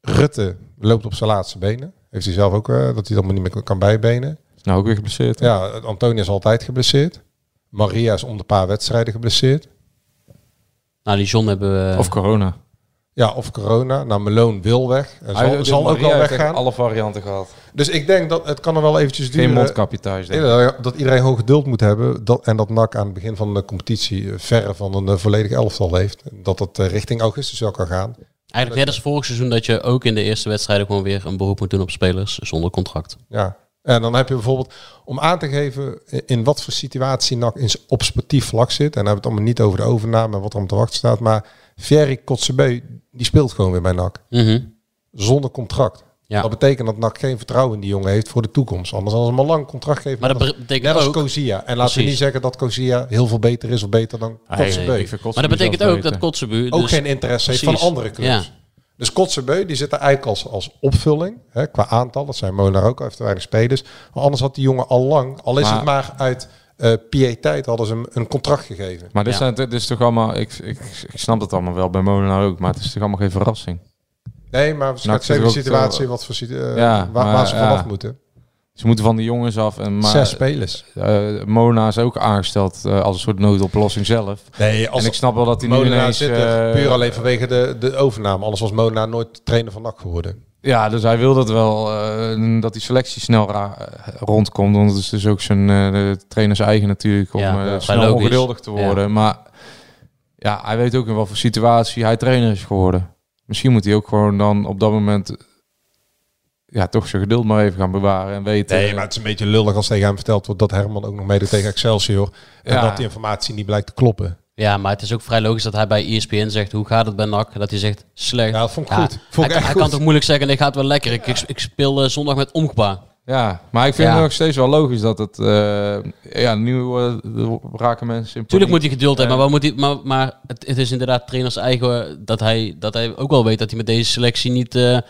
Speaker 7: Rutte loopt op zijn laatste benen. Heeft hij zelf ook, eh, dat hij het allemaal niet meer kan bijbenen.
Speaker 8: Is nou ook weer geblesseerd.
Speaker 7: Ja, Antonia is altijd geblesseerd. Maria is om de paar wedstrijden geblesseerd.
Speaker 6: Nou, die John hebben we...
Speaker 8: Of corona.
Speaker 7: Ja, of corona. Nou, Meloon wil weg. En zal, zal ook wel weggaan.
Speaker 8: alle varianten gehad.
Speaker 7: Dus ik denk dat het kan er wel eventjes
Speaker 8: Geen
Speaker 7: duren.
Speaker 8: mondkapje thuis, denk ik.
Speaker 7: Ja, dat iedereen gewoon geduld moet hebben. Dat, en dat NAC aan het begin van de competitie eh, verre van een eh, volledig elftal heeft. Dat dat eh, richting augustus wel kan gaan.
Speaker 6: Eigenlijk net als vorig seizoen dat je ook in de eerste wedstrijden gewoon weer een beroep moet doen op spelers zonder contract.
Speaker 7: Ja. En dan heb je bijvoorbeeld, om aan te geven in- in wat voor situatie NAC in, s- op sportief vlak zit. En dan hebben we het allemaal niet over de overname en wat er om te wachten staat. Maar Ferry Kotzebue, die speelt gewoon weer bij NAC. Zonder contract.
Speaker 6: Ja.
Speaker 7: Dat betekent dat NAC geen vertrouwen in die jongen heeft voor de toekomst. Anders als ze hem al lang een contract geven.
Speaker 6: Maar dat
Speaker 7: dan-
Speaker 6: betekent
Speaker 7: Net als
Speaker 6: ook-
Speaker 7: Kozia. En laten we
Speaker 6: Precies. Ah,
Speaker 7: niet zeggen dat Kozia heel veel beter is of beter dan Kotzebue.
Speaker 6: Maar dat betekent ook dat Kotzebu...
Speaker 7: ook
Speaker 6: dus-
Speaker 7: geen interesse heeft
Speaker 6: precies.
Speaker 7: van andere clubs.
Speaker 6: Ja.
Speaker 7: Dus Kotzebue, die zit er eigenlijk als, als opvulling hè, qua aantal. Dat zijn Molenaar ook, hij heeft te weinig spelers. Maar anders had die jongen al lang, al is
Speaker 8: Maar-
Speaker 7: het maar uit eh piëteit, hadden ze hem een contract gegeven.
Speaker 8: Maar dit,
Speaker 6: Ja.
Speaker 8: zijn, dit is toch allemaal... Ik, ik, ik snap dat allemaal wel, bij Molenaar ook. Maar het is toch allemaal geen verrassing.
Speaker 7: Nee, maar
Speaker 8: Nou, ik
Speaker 7: schets even de
Speaker 8: vind het ook
Speaker 7: situatie
Speaker 8: wel-
Speaker 7: wat voor, situ- eh,
Speaker 8: Ja,
Speaker 7: waar,
Speaker 8: maar,
Speaker 7: waar ze vanaf
Speaker 8: ja.
Speaker 7: moeten.
Speaker 8: Ze moeten van de jongens af. En maar,
Speaker 7: Zes spelers.
Speaker 8: eh, Molenaar is ook aangesteld eh, als een soort noodoplossing zelf.
Speaker 7: Nee, als
Speaker 8: en ik snap wel dat hij nu
Speaker 7: Molenaar
Speaker 8: ineens...
Speaker 7: zit er
Speaker 8: eh,
Speaker 7: puur alleen vanwege de, de overname. Anders was Molenaar nooit trainer van NAC geworden.
Speaker 8: Ja, dus hij wil dat wel, eh, dat die selectie snel ra- eh, rondkomt. Want het is dus ook zijn eh, de trainers eigen natuurlijk om
Speaker 6: Ja,
Speaker 8: eh,
Speaker 6: ja,
Speaker 8: snel
Speaker 6: logisch.
Speaker 8: ongeduldig te worden. Maar ja, hij weet ook in wat voor situatie hij trainer is geworden. Misschien moet hij ook gewoon dan op dat moment ja, toch zijn geduld maar even gaan bewaren en weten.
Speaker 7: Nee, maar het is een beetje lullig als tegen hem verteld wordt dat Herman ook nog meedoet tegen Excelsior. En
Speaker 8: Ja.
Speaker 7: dat die informatie niet blijkt te kloppen.
Speaker 6: Ja, maar het is ook vrij logisch dat hij bij E ESPN zegt, hoe gaat het bij NAC? Dat hij zegt, slecht.
Speaker 7: Ja, dat vond ik goed. Vond ik
Speaker 6: hij,
Speaker 7: echt
Speaker 6: hij
Speaker 7: goed.
Speaker 6: kan toch moeilijk zeggen, nee, gaat wel lekker. Ik, ik, ik speel eh, zondag met Omgba.
Speaker 8: Ja, maar ik vind
Speaker 6: Ja.
Speaker 8: het nog steeds wel logisch dat het... eh, ja, nu eh, raken mensen in
Speaker 6: Tuurlijk
Speaker 8: paniek.
Speaker 6: moet hij geduld hebben, maar, wat moet hij, maar, maar het, het is inderdaad trainers eigen eh, dat hij, dat hij ook wel weet dat hij met deze selectie niet eh, eh,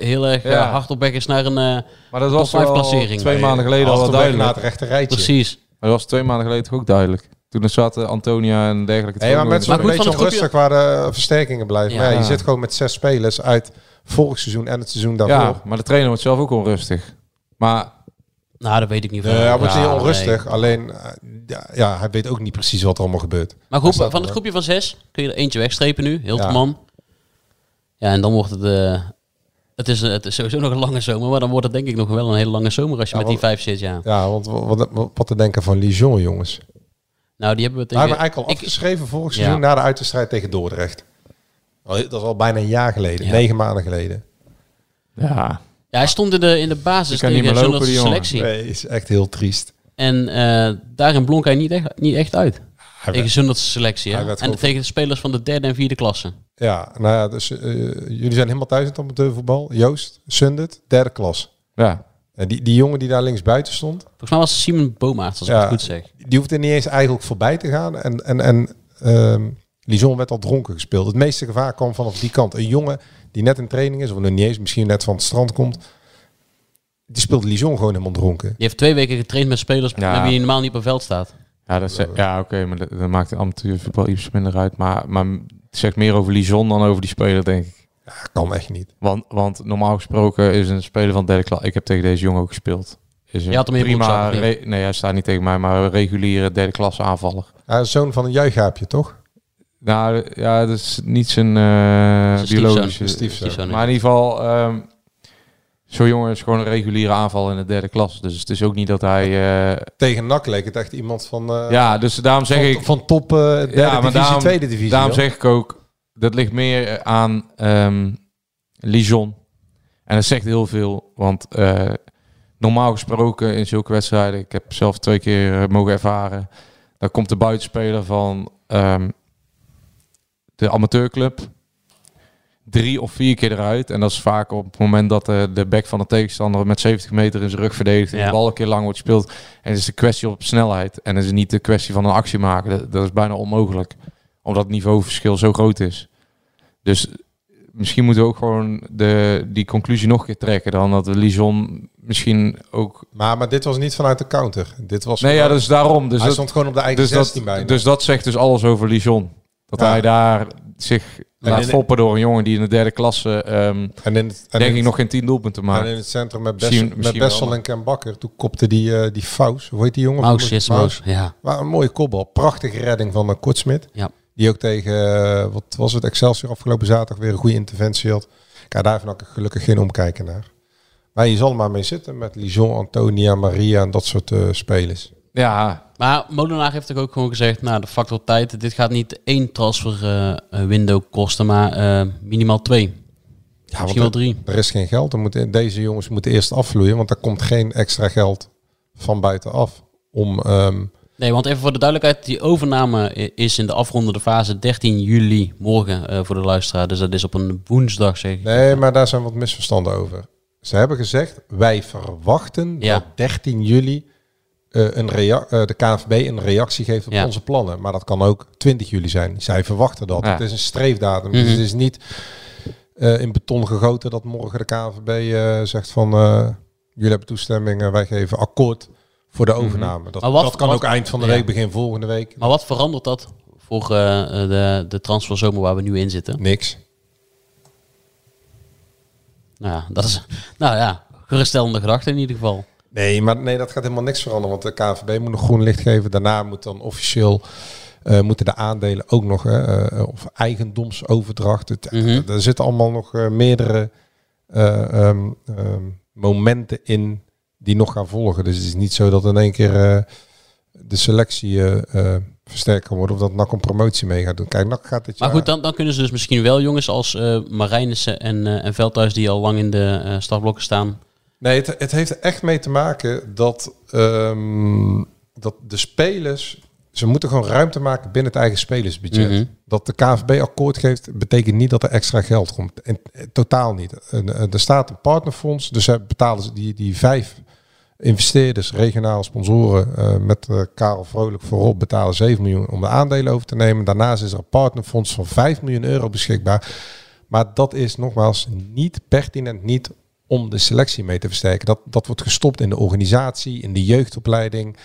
Speaker 6: heel erg eh,
Speaker 8: Ja.
Speaker 6: hard op weg is naar een... eh,
Speaker 8: Maar dat
Speaker 6: top
Speaker 8: was
Speaker 6: vijf
Speaker 8: wel
Speaker 6: klassering.
Speaker 8: twee
Speaker 6: Nee,
Speaker 8: maanden geleden al
Speaker 7: Als
Speaker 8: wel
Speaker 7: de weg naar
Speaker 8: duidelijk.
Speaker 7: het rechte rijtje.
Speaker 6: Precies.
Speaker 8: Maar dat was twee maanden geleden toch ook duidelijk. Toen er zaten Antonia en dergelijke.
Speaker 7: Nee, maar mensen
Speaker 6: Maar
Speaker 7: zijn een
Speaker 6: goed,
Speaker 7: beetje
Speaker 6: van het
Speaker 7: onrustig waar de eh, versterkingen blijven.
Speaker 6: Ja.
Speaker 7: Maar Ja. je zit gewoon met zes spelers uit vorig seizoen en het seizoen daarvoor.
Speaker 8: Ja,
Speaker 7: Ja.
Speaker 8: maar de trainer wordt zelf ook onrustig. Maar
Speaker 6: Nou, dat weet ik niet van.
Speaker 7: Nee, Eh, hij wordt
Speaker 6: Ja,
Speaker 7: heel onrustig.
Speaker 6: nee.
Speaker 7: Alleen, eh, ja, ja, hij weet ook niet precies wat er allemaal gebeurt.
Speaker 6: Maar
Speaker 7: Hij
Speaker 6: goed,
Speaker 7: staat
Speaker 6: van het
Speaker 7: er-
Speaker 6: groepje van zes kun je er eentje wegstrepen nu. Hilterman. Ja. ja, en dan wordt het... eh, het, is, eh, het is sowieso nog een lange zomer, maar dan wordt het denk ik nog wel een hele lange zomer als je
Speaker 7: Ja,
Speaker 6: met die
Speaker 7: want-
Speaker 6: vijf zit, ja.
Speaker 7: Ja, want wat, wat, wat te denken van Lijon, jongens.
Speaker 6: Nou, die hebben we
Speaker 7: We
Speaker 6: tegen...
Speaker 7: hebben we eigenlijk al
Speaker 6: ik,
Speaker 7: afgeschreven vorig
Speaker 6: Ja.
Speaker 7: seizoen na de uitwedstrijd tegen Dordrecht. Al- Dat is al bijna een jaar geleden,
Speaker 6: Ja.
Speaker 7: negen maanden geleden.
Speaker 8: Ja,
Speaker 6: ja, hij stond in de, in de basis
Speaker 8: Ik kan niet
Speaker 6: tegen
Speaker 8: meer lopen,
Speaker 6: Zunderse
Speaker 8: die jongen.
Speaker 6: selectie.
Speaker 7: Nee, is echt heel triest.
Speaker 6: En eh, daarin blonk hij niet echt, niet echt uit. tegen Zunderse selectie, hè?
Speaker 7: hij werd
Speaker 6: En
Speaker 7: gewoon-
Speaker 6: tegen de spelers van de derde en vierde klasse.
Speaker 7: Ja, nou ja, dus eh, jullie zijn helemaal thuis in het amateurvoetbal. Joost, Sundert, derde klas.
Speaker 8: ja.
Speaker 7: En die, die jongen die daar links buiten stond,
Speaker 6: Volgens mij was het Simon Bomaert, als ik
Speaker 7: Ja.
Speaker 6: het goed zeg.
Speaker 7: die hoeft er niet eens eigenlijk voorbij te gaan. En, en, en ehm, Lison werd al dronken gespeeld. Het meeste gevaar kwam vanaf die kant. Een jongen die net in training is, of nog niet eens, misschien net van het strand komt. Die speelt Lison gewoon helemaal dronken.
Speaker 6: Die heeft twee weken getraind met spelers
Speaker 8: Ja.
Speaker 6: met wie hij normaal niet op het veld staat.
Speaker 8: Ja, dat zegt- ja oké, maar dat, dat maakt het amateurvoetbal iets minder uit. Maar, maar het zegt meer over Lison dan over die speler, denk ik.
Speaker 7: Dat kan echt niet.
Speaker 8: Want, want normaal gesproken is een speler van derde klas... Ik heb tegen deze jongen ook gespeeld. Is een
Speaker 6: Je had hem in je
Speaker 8: prima,
Speaker 6: broekzak, of
Speaker 8: re- Nee, hij staat niet tegen mij, maar een reguliere derde klasse aanvaller.
Speaker 7: Hij is zoon van een juichhaapje, toch?
Speaker 8: Nou, ja, dat is niet zijn eh,
Speaker 6: Zijn stiefzoon.
Speaker 8: biologische...
Speaker 6: Zijn
Speaker 7: stiefzoon.
Speaker 6: Stiefzoon, ja.
Speaker 8: Maar in ieder geval, ehm, zo'n jongen is gewoon een reguliere aanval in de derde klas. Dus het is ook niet dat hij... eh,
Speaker 7: Tegen NAC leek het echt iemand van, eh,
Speaker 8: ja, dus daarom zeg
Speaker 7: van,
Speaker 8: ik...
Speaker 7: van top eh derde
Speaker 8: Ja, maar
Speaker 7: divisie,
Speaker 8: daarom-
Speaker 7: tweede divisie.
Speaker 8: Daarom
Speaker 7: joh.
Speaker 8: zeg ik ook, dat ligt meer aan ehm Lijon. En dat zegt heel veel, want eh, normaal gesproken in zulke wedstrijden, ik heb zelf twee keer eh, mogen ervaren, dan komt de buitenspeler van ehm, de amateurclub drie of vier keer eruit. En dat is vaak op het moment dat de, de back van de tegenstander met 70 meter in zijn rug verdedigt en
Speaker 6: Ja.
Speaker 8: de bal een keer lang wordt gespeeld. En het is de kwestie op snelheid en het is niet de kwestie van een actie maken. Dat, dat is bijna onmogelijk, omdat het niveauverschil zo groot is. Dus misschien moeten we ook gewoon de, die conclusie nog een keer trekken dan dat Lison misschien ook...
Speaker 7: Maar, maar dit was niet vanuit de counter. Dit was
Speaker 8: Nee, ja,
Speaker 7: gewoon-
Speaker 8: dat is daarom. Dus
Speaker 7: hij
Speaker 8: dat,
Speaker 7: stond gewoon op de eigen
Speaker 8: dus,
Speaker 7: 16
Speaker 8: dat,
Speaker 7: bij.
Speaker 8: dus dat zegt dus alles over Lijon. Dat
Speaker 7: Ja.
Speaker 8: hij daar zich laat
Speaker 7: in-
Speaker 8: foppen door een jongen die in de derde klasse... ehm,
Speaker 7: en in het, en
Speaker 8: denk
Speaker 7: in
Speaker 8: ik
Speaker 7: het-
Speaker 8: nog geen tien doelpunten
Speaker 7: Maar
Speaker 8: maken.
Speaker 7: in het centrum met,
Speaker 8: Misschien-
Speaker 7: Bessel, met
Speaker 8: misschien wel,
Speaker 7: Bessel
Speaker 8: maar-
Speaker 7: en Ken Bakker. Toen kopte die, eh die Faus. Hoe heet die jongen?
Speaker 6: Maus is Maus, ja.
Speaker 7: Maar een mooie kopbal. Prachtige redding van eh, Kortsmit.
Speaker 6: Ja.
Speaker 7: Die ook tegen, eh, wat was het, Excelsior afgelopen zaterdag weer een goede interventie had. Kijk, daar heb ik gelukkig geen omkijken naar. Maar je zal er maar mee zitten met Lijon, Antonia, Maria en dat soort eh, spelers.
Speaker 8: Ja,
Speaker 6: Maar Molenaar heeft toch ook gewoon gezegd, nou de factor tijd, dit gaat niet één transfer eh, eh, window kosten, maar eh, minimaal twee.
Speaker 7: Ja,
Speaker 6: Misschien wel drie.
Speaker 7: Er is geen geld. Er moeten deze jongens moeten eerst afvloeien, want er komt geen extra geld van buitenaf om... ehm,
Speaker 6: Nee, want even voor de duidelijkheid, die overname i- is in de afrondende fase 13 juli, morgen eh, voor de luisteraar. Dus dat is op een woensdag zeg ik.
Speaker 7: Nee, maar daar zijn wat misverstanden over. Ze hebben gezegd, wij verwachten
Speaker 6: Ja.
Speaker 7: dat 13 juli eh, een rea- eh, de KNVB een reactie geeft op
Speaker 6: Ja.
Speaker 7: onze plannen. Maar dat kan ook 20 juli zijn. Zij verwachten dat.
Speaker 8: Ja.
Speaker 7: Het is een streefdatum. Dus
Speaker 6: Mhm.
Speaker 7: het is niet eh, in beton gegoten dat morgen de KNVB eh, zegt van... eh, jullie hebben toestemming, en wij geven akkoord voor de overname. Dat,
Speaker 6: Mhm. Maar wat-
Speaker 7: dat kan
Speaker 6: wat-
Speaker 7: ook eind van de
Speaker 6: ja.
Speaker 7: week, begin volgende week.
Speaker 6: Maar wat verandert dat voor eh, eh, de, de transferzomer waar we nu in zitten?
Speaker 7: Niks.
Speaker 6: Nou ja, dat is, nou ja geruststellende gedachte in ieder geval.
Speaker 7: Nee, maar nee, dat gaat helemaal niks veranderen. Want de KVB moet nog groen licht geven. Daarna moet dan officieel eh, moeten de aandelen ook nog hè, eh, of eigendomsoverdracht. Het,
Speaker 6: Mhm.
Speaker 7: Er zitten allemaal nog eh, meerdere eh, ehm, ehm, momenten in die nog gaan volgen. Dus het is niet zo dat in één keer eh, de selectie eh, eh, versterkt kan worden of dat NAC een promotie mee gaat doen. Kijk, NAC gaat dit
Speaker 6: Maar
Speaker 7: jaar-
Speaker 6: goed, dan, dan kunnen ze dus misschien wel jongens als eh Marijnissen en, eh, en Veldhuis die al lang in de eh startblokken staan.
Speaker 7: Nee, het, het heeft er echt mee te maken dat, ehm, dat de spelers... Ze moeten gewoon ruimte maken binnen het eigen spelersbudget.
Speaker 6: Mhm.
Speaker 7: Dat de KVB akkoord geeft, betekent niet dat er extra geld komt. En, eh, totaal niet. En, eh, er staat een partnerfonds, dus zij betalen ze die, die vijf investeerders, regionale sponsoren, eh, met eh, Karel Vrolijk voorop, betalen 7 miljoen om de aandelen over te nemen. Daarnaast is er een partnerfonds van 5 miljoen euro beschikbaar. Maar dat is nogmaals niet pertinent, niet om de selectie mee te versterken. Dat, dat wordt gestopt in de organisatie, in de jeugdopleiding.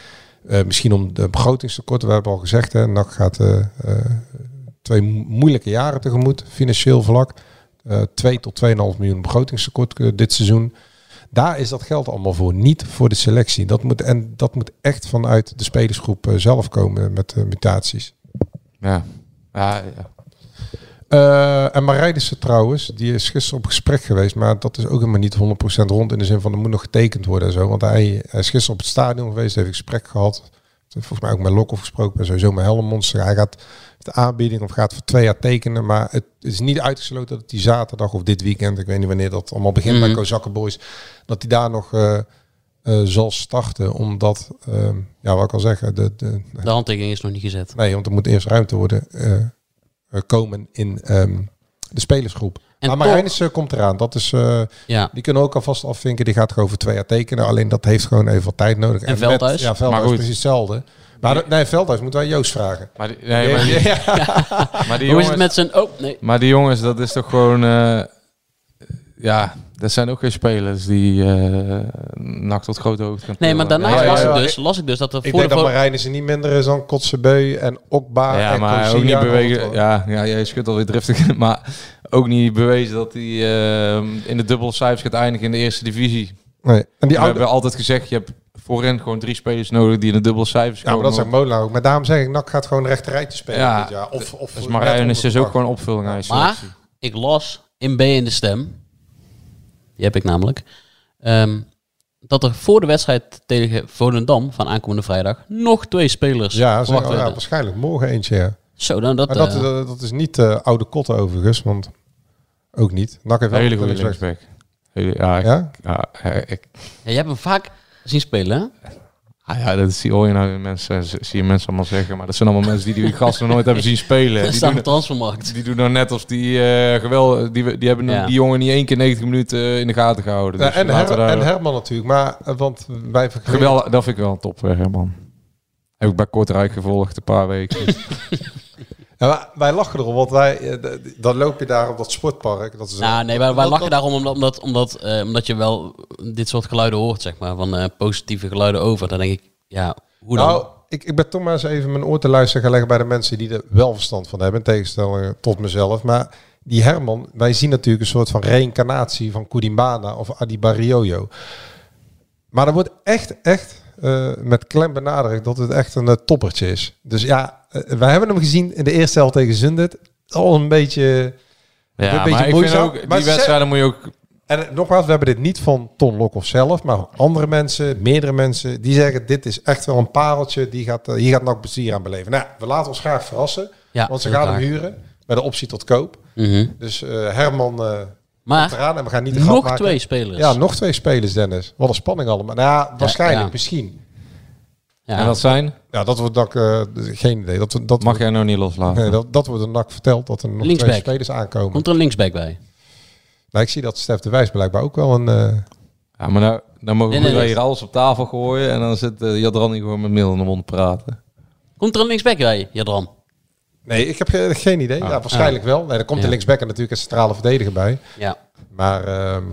Speaker 7: Eh, misschien om de begrotingstekorten, we hebben al gezegd, hè, NAC gaat eh, eh, twee mo- moeilijke jaren tegemoet, financieel vlak. Eh 2 tot 2,5 miljoen begrotingstekort eh, dit seizoen. Daar is dat geld allemaal voor, niet voor de selectie. Dat moet, en dat moet echt vanuit de spelersgroep eh, zelf komen met eh, mutaties.
Speaker 8: ja. ja, ja.
Speaker 7: Eh, en Marijnissen trouwens, die is gisteren op gesprek geweest, maar dat is ook helemaal niet 100% rond in de zin van er moet nog getekend worden en zo. Want hij, hij is gisteren op het stadion geweest, heeft een gesprek gehad. volgens mij ook met Lokhoff gesproken, maar sowieso met Hellemonster. Hij gaat de aanbieding of gaat voor twee jaar tekenen, maar het is niet uitgesloten dat die zaterdag of dit weekend, ik weet niet wanneer dat allemaal begint bij
Speaker 6: Mhm.
Speaker 7: Kozakken Boys, dat hij daar nog eh, eh, zal starten, omdat, ehm, ja, wat ik al zeggen, de, de,
Speaker 6: De handtekening is nog niet gezet.
Speaker 7: nee, want er moet eerst ruimte worden eh, eh, komen in ehm, de spelersgroep.
Speaker 6: En
Speaker 7: maar
Speaker 6: toch-
Speaker 7: Marijnissen komt eraan, dat is... eh,
Speaker 6: Ja.
Speaker 7: die kunnen ook alvast afvinken. Die gaat gewoon voor twee jaar tekenen. Alleen dat heeft gewoon even wat tijd nodig. met-
Speaker 6: Veldhuis?
Speaker 7: ja, Veldhuis
Speaker 8: Maar goed.
Speaker 7: is precies hetzelfde. Maar dat- nee, Veldhuis moeten wij Joost vragen.
Speaker 8: Maar die, nee, maar die,
Speaker 7: Ja.
Speaker 8: maar die
Speaker 6: Hoe is het
Speaker 8: jongens,
Speaker 6: met zijn... Oh, nee.
Speaker 8: maar die jongens, dat is toch gewoon... eh, ja, dat zijn ook geen spelers die eh NAC tot grote hoogte gaan
Speaker 6: Nee, maar
Speaker 8: tillen.
Speaker 6: daarnaast
Speaker 7: Ja,
Speaker 6: las,
Speaker 7: ja, ja.
Speaker 6: Ik dus, las ik dus dat er
Speaker 7: Ik
Speaker 6: voor
Speaker 7: denk
Speaker 6: de...
Speaker 7: dat
Speaker 6: vo-
Speaker 7: Marijnissen niet minder is dan Kotzebeu en Okba
Speaker 8: Ja,
Speaker 7: en
Speaker 8: maar
Speaker 7: Concilia
Speaker 8: ook niet
Speaker 7: en
Speaker 8: bewegen.
Speaker 7: Holland.
Speaker 8: Ja, ja, jij schudt alweer driftig. Maar ook niet bewezen dat hij ehm, in de dubbelcijfers gaat eindigen in de eerste divisie.
Speaker 7: Nee. En die
Speaker 8: We
Speaker 7: oude...
Speaker 8: hebben altijd gezegd, je hebt voorin gewoon drie spelers nodig die in de dubbele cijfers
Speaker 7: Ja, maar
Speaker 8: komen.
Speaker 7: dat zegt Mola ook. Maar daarom zeg ik, NAC gaat gewoon een rechterrijtje spelen
Speaker 8: Ja.
Speaker 7: dit jaar. Of, of
Speaker 8: dus
Speaker 7: net
Speaker 8: Marijn
Speaker 7: onder
Speaker 8: is dus
Speaker 7: de
Speaker 8: ook
Speaker 7: bank.
Speaker 8: gewoon opvulling aan je
Speaker 6: Maar
Speaker 8: selectie.
Speaker 6: ik las in B in de stem, die heb ik namelijk, ehm, dat er voor de wedstrijd tegen Volendam van aankomende vrijdag nog twee spelers
Speaker 7: Ja, zeg,
Speaker 6: verwacht
Speaker 7: oh, ja,
Speaker 6: werden.
Speaker 7: waarschijnlijk morgen eentje, ja.
Speaker 6: Zo, nou dat...
Speaker 7: Maar dat,
Speaker 6: eh,
Speaker 7: eh, dat is niet eh, oude kotten overigens, want ook niet. NAC heeft wel
Speaker 8: Hele
Speaker 7: een
Speaker 8: goede
Speaker 7: linksback.
Speaker 8: linksback. Hele, ja, ik,
Speaker 7: Ja?
Speaker 8: ja, ik- ik-
Speaker 6: ja, jij hebt hem vaak zien spelen, hè?
Speaker 8: ah ja, dat zie, hoor je nou in mensen, z- zie je mensen allemaal zeggen. Maar dat zijn allemaal mensen die die gasten nooit hebben zien spelen.
Speaker 6: Dat
Speaker 8: Die
Speaker 6: staat op
Speaker 8: doen,
Speaker 6: de transfermarkt.
Speaker 8: die doen nou net als die eh geweld... Die, die hebben
Speaker 6: Ja.
Speaker 8: die jongen niet één keer 90 minuten eh, in de gaten gehouden.
Speaker 7: Ja,
Speaker 8: Dus
Speaker 7: en,
Speaker 8: laten we
Speaker 7: Her-
Speaker 8: daar-
Speaker 7: en Herman natuurlijk, maar eh, want wij vergelijken-
Speaker 8: Geweld, dat vind ik wel een top, eh, man. Heb ik bij Kortrijk gevolgd een paar weken.
Speaker 7: Ja, maar wij lachen erom, want wij, eh, d- d- dan loop je daar op dat sportpark. Dat is een-
Speaker 6: Nou, nee, wij, wij
Speaker 7: dat-
Speaker 6: lachen
Speaker 7: dat-
Speaker 6: daarom omdat, omdat, omdat, eh, omdat je wel dit soort geluiden hoort, zeg maar, van eh, positieve geluiden over. Dan denk ik, ja, hoe dan?
Speaker 7: Nou, ik, ik ben toch maar eens even mijn oor te luisteren gaan leggen bij de mensen die er wel verstand van hebben, in tegenstelling tot mezelf. Maar die Herman, wij zien natuurlijk een soort van reïncarnatie van Koudimbana of Adibarioyo. Maar er wordt echt, echt eh, met klem benadrukt dat het echt een eh, toppertje is. Dus ja, eh, wij hebben hem gezien in de eerste helft tegen Zundert. Al een beetje... Een
Speaker 8: Ja, maar
Speaker 7: beetje
Speaker 8: ik vind
Speaker 7: moeizaam.
Speaker 8: ook, die
Speaker 7: Maar ze-
Speaker 8: wedstrijden moet je ook
Speaker 7: En nogmaals, we hebben dit niet van Ton Lokhoff zelf, maar andere mensen, meerdere mensen, die zeggen dit is echt wel een pareltje, die gaat, eh, hier gaat nog plezier aan beleven. Nou, we laten ons graag verrassen,
Speaker 6: Ja,
Speaker 7: want ze
Speaker 6: heel
Speaker 7: gaan hem
Speaker 6: graag.
Speaker 7: huren met de optie tot koop.
Speaker 6: Mhm.
Speaker 7: Dus eh, Herman eh
Speaker 6: Maar
Speaker 7: eraan en we gaan niet de grap
Speaker 6: nog
Speaker 7: maken.
Speaker 6: twee spelers.
Speaker 7: Ja, nog twee spelers, Dennis. Wat een spanning allemaal. Nou ja, waarschijnlijk,
Speaker 6: ja.
Speaker 7: misschien.
Speaker 6: Ja.
Speaker 8: En dat zijn?
Speaker 7: Ja, dat wordt NAC, eh, geen idee. Dat, dat,
Speaker 8: Mag jij nou niet loslaten?
Speaker 7: nee, dat, dat wordt een NAC verteld dat er nog twee
Speaker 6: Linksback.
Speaker 7: spelers aankomen.
Speaker 6: Komt er een linksback bij?
Speaker 7: Nou, ik zie dat Stef de Wijs blijkbaar ook wel een... eh,
Speaker 8: Ja, maar nou, dan mogen
Speaker 6: Nee,
Speaker 8: we
Speaker 6: nee, nee.
Speaker 8: hier alles op tafel gooien en dan zit uh, Jadrani gewoon met mail in de mond te praten.
Speaker 6: Komt er een linksback bij, Jadran?
Speaker 7: Nee, ik heb ge- geen idee. Ja, waarschijnlijk wel. Nee, er komt
Speaker 6: Ah.
Speaker 7: de
Speaker 6: Ja.
Speaker 7: linksback en natuurlijk een centrale verdediger bij.
Speaker 6: Ja.
Speaker 7: Maar ehm,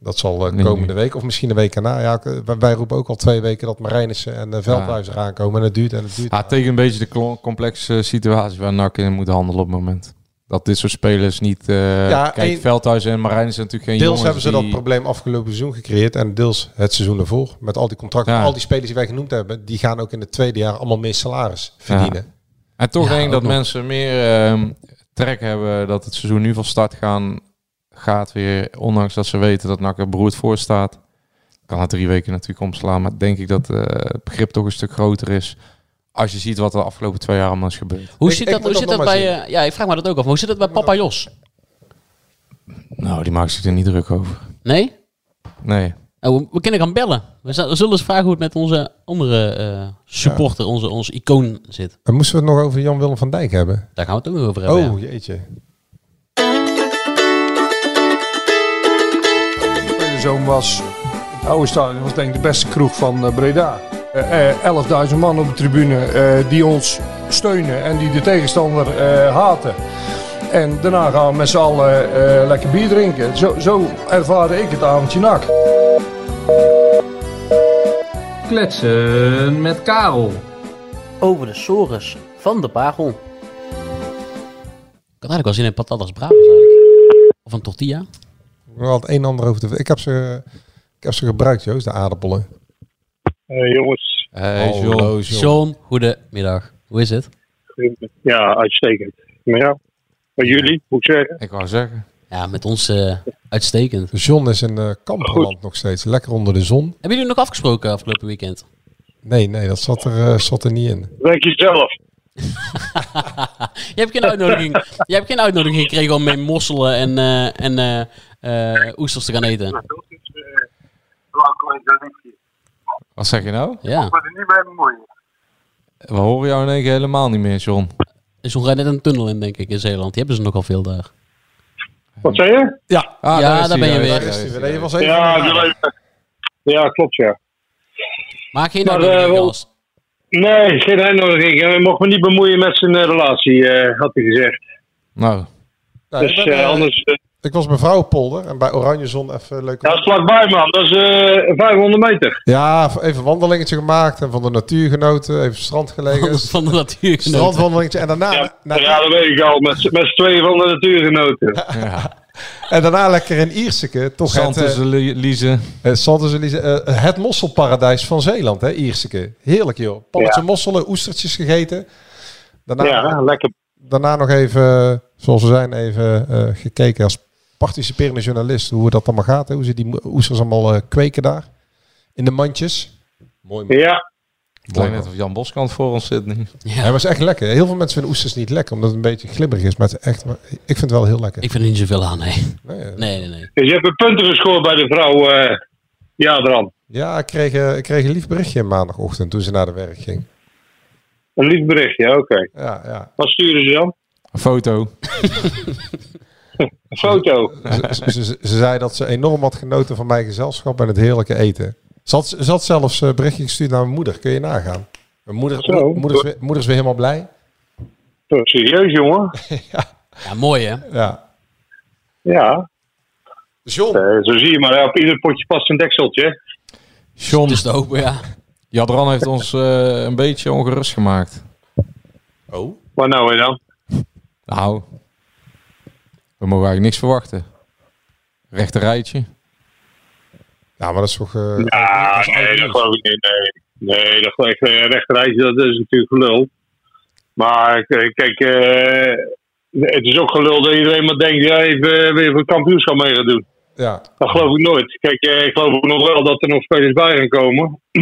Speaker 7: dat zal eh,
Speaker 8: Nee,
Speaker 7: komende
Speaker 8: nee.
Speaker 7: week of misschien de week erna. Ja, ik, eh, wij- wij roepen ook al twee weken dat Marijnissen en eh, Veldhuis eraan komen. En het duurt en het
Speaker 6: Ah,
Speaker 7: duurt.
Speaker 8: Ja, tegen een beetje de klo- complexe situatie waar NAC in moet handelen op het moment. Dat dit soort spelers niet... eh,
Speaker 7: Ja,
Speaker 8: kijk,
Speaker 7: en-
Speaker 8: Veldhuis en Marijn zijn natuurlijk geen
Speaker 7: deels
Speaker 8: jongens
Speaker 7: hebben ze dat
Speaker 8: die-
Speaker 7: probleem afgelopen seizoen gecreëerd. En deels het seizoen ervoor. Met al die contracten.
Speaker 8: Ja.
Speaker 7: Al die spelers die wij genoemd hebben. Die gaan ook in het tweede jaar allemaal meer salaris verdienen.
Speaker 8: En toch
Speaker 6: Ja,
Speaker 8: denk ik dat
Speaker 6: ook nog.
Speaker 8: mensen meer ehm, trek hebben dat het seizoen nu van start gaan, gaat weer. Ondanks dat ze weten dat NAC er beroerd voor staat. Kan het drie weken natuurlijk omslaan. Maar denk ik dat eh, het begrip toch een stuk groter is. Als je ziet wat er de afgelopen twee jaar allemaal is gebeurd.
Speaker 6: Hoe
Speaker 7: Ik-
Speaker 6: zit
Speaker 7: ik
Speaker 6: dat,
Speaker 7: moet
Speaker 6: hoe zit
Speaker 7: dat
Speaker 6: dat
Speaker 7: nog maar
Speaker 6: bij... eh, ja, ik vraag me dat ook af. maar Hoe zit dat bij papa Jos?
Speaker 8: Nou, die maakt zich er niet druk over.
Speaker 6: Nee?
Speaker 8: Nee.
Speaker 6: Nou, we, we kunnen gaan bellen. We, za- we zullen eens vragen hoe het met onze andere eh, supporter, onze, onze icoon zit.
Speaker 7: En moesten we het nog over Jan-Willem van Dijk hebben?
Speaker 6: Daar gaan we het ook nog over hebben.
Speaker 7: oh,
Speaker 6: ja.
Speaker 7: jeetje.
Speaker 9: De zoon was, het oude stadion was denk ik de beste kroeg van eh, Breda. Eh, eh, 11.000 man op de tribune eh, die ons steunen en die de tegenstander eh, haten. En daarna gaan we met z'n allen eh, lekker bier drinken. Zo, zo ervaarde ik het avondje nak.
Speaker 10: Kletsen met Karel.
Speaker 6: Over de sores van de parel. Ik had eigenlijk wel zin in patatas bravas eigenlijk. Of een tortilla.
Speaker 7: Ik had het een en ander over te... Ik heb ze, ik heb ze gebruikt, Joost, de aardappelen.
Speaker 11: Eh, jongens,
Speaker 8: Hey,
Speaker 7: Hallo, John.
Speaker 6: Oh, John, goedemiddag. Hoe is het?
Speaker 11: ja, uitstekend. Maar ja, bij jullie, moet ik zeggen.
Speaker 8: Ik wou zeggen.
Speaker 6: Ja, met ons eh, uitstekend.
Speaker 7: John is in eh kamperland nog steeds. Lekker onder de zon.
Speaker 6: Hebben jullie nog afgesproken afgelopen weekend?
Speaker 7: Nee, nee, dat zat er, eh, zat er niet in.
Speaker 11: Denk je zelf.
Speaker 6: Je hebt geen uitnodiging, je hebt geen uitnodiging gekregen om mee mosselen en, eh, en eh, eh, oesters te gaan eten.
Speaker 8: Wat zeg je nou?
Speaker 6: Ja.
Speaker 11: er niet mee bemoeien.
Speaker 8: We horen jou in één keer helemaal niet meer, John.
Speaker 6: Dus we gaan net een tunnel in, denk ik, in Zeeland. Die hebben ze nogal veel daar.
Speaker 11: Wat zei je?
Speaker 8: Ja, ah,
Speaker 6: Ja,
Speaker 8: is hij,
Speaker 6: daar ben je
Speaker 8: daar
Speaker 6: weer.
Speaker 8: is hij, daar is hij.
Speaker 7: Je was even
Speaker 11: Ja, die leeftijd. ja, klopt ja.
Speaker 6: Maar geen
Speaker 11: Maar, eh,
Speaker 6: uitnodiging,
Speaker 11: wel-
Speaker 6: Gast.
Speaker 11: Nee, geen uitnodiging. Hij mocht me niet bemoeien met zijn eh, relatie, eh, had hij gezegd.
Speaker 8: Nou,
Speaker 7: Nou, ik,
Speaker 11: Dus
Speaker 7: ben,
Speaker 11: eh,
Speaker 7: eh,
Speaker 11: anders... eh,
Speaker 7: ik was bij Vrouwenpolder en bij Oranje Zon even leuk.
Speaker 11: ja, dat is vlakbij man. Dat is eh 500 meter.
Speaker 7: Ja, even een wandelingetje gemaakt en van de natuur genoten. Even op het strand gelegen.
Speaker 6: Van de natuur.
Speaker 7: Strandwandelingetje en daarna,
Speaker 11: Ja,
Speaker 7: na-
Speaker 11: ja, dat weet ik al. Met, z'n- met z'n tweeën van de natuurgenoten.
Speaker 7: en daarna lekker in Ierseke. Toch het,
Speaker 8: Santos,
Speaker 7: eh,
Speaker 8: Lize.
Speaker 7: eh, Santos Elise, eh, het mosselparadijs van Zeeland, hè, Ierseke. Heerlijk joh. Pannetje mosselen, oestertjes gegeten. Daarna,
Speaker 11: Ja, lekker.
Speaker 7: daarna nog even, zoals we zijn, even eh, gekeken als participerende journalist hoe dat allemaal gaat. Hè, hoe ze die mo- oesters allemaal eh, kweken daar. In de mandjes. Mooi man.
Speaker 11: Ja,
Speaker 8: Het lijkt net of Jan Boskant voor ons zit nu.
Speaker 7: Hij was echt lekker. Heel veel mensen vinden oesters niet lekker, omdat het een beetje glibberig is. Maar het is echt, ik vind het wel heel lekker.
Speaker 6: Ik vind er niet zoveel aan, nee.
Speaker 7: Nee, eh,
Speaker 6: Nee, nee, nee.
Speaker 11: dus je hebt een punten gescoord bij de vrouw. eh ja, dan.
Speaker 7: Ja, ik kreeg, eh, ik kreeg een lief berichtje maandagochtend toen ze naar de werk ging.
Speaker 11: Een lief berichtje, oké.
Speaker 7: Ja, ja.
Speaker 11: Wat sturen ze dan?
Speaker 8: Een foto.
Speaker 11: Een foto.
Speaker 7: Ze, ze, ze- ze zei dat ze enorm had genoten van mijn gezelschap en het heerlijke eten. Ze had, ze had zelfs eh, berichtje gestuurd naar mijn moeder. Kun je nagaan. Mijn moeder,
Speaker 11: Zo.
Speaker 7: mo- moeder, is weer, moeder is weer helemaal blij.
Speaker 11: Serieus, jongen?
Speaker 6: Ja, mooi hè.
Speaker 7: Ja.
Speaker 11: Ja,
Speaker 7: John.
Speaker 11: eh, zo zie je maar. Op ieder potje past een dekseltje.
Speaker 8: John,
Speaker 6: Dus te hopen, ja.
Speaker 8: Jadran heeft ons eh, een beetje ongerust gemaakt.
Speaker 7: Oh.
Speaker 11: Waar nou weer dan?
Speaker 8: Nou, we mogen eigenlijk niks verwachten. Rechter rijtje.
Speaker 7: Ja, maar dat is toch... eh,
Speaker 11: Ja,
Speaker 7: is oud
Speaker 11: Ah, nee, dat
Speaker 7: nieuws.
Speaker 11: geloof ik niet. Nee, nee dat geloof ik eh, rechterrijtje, dat is natuurlijk gelul. Maar k- kijk, eh, het is ook gelul dat iedereen maar denkt, ja, ik eh, weer voor het kampioenschap mee gaat doen.
Speaker 7: Ja.
Speaker 11: Dat geloof ik nooit. Kijk, eh, ik geloof ook nog wel dat er nog spelers bij gaan komen.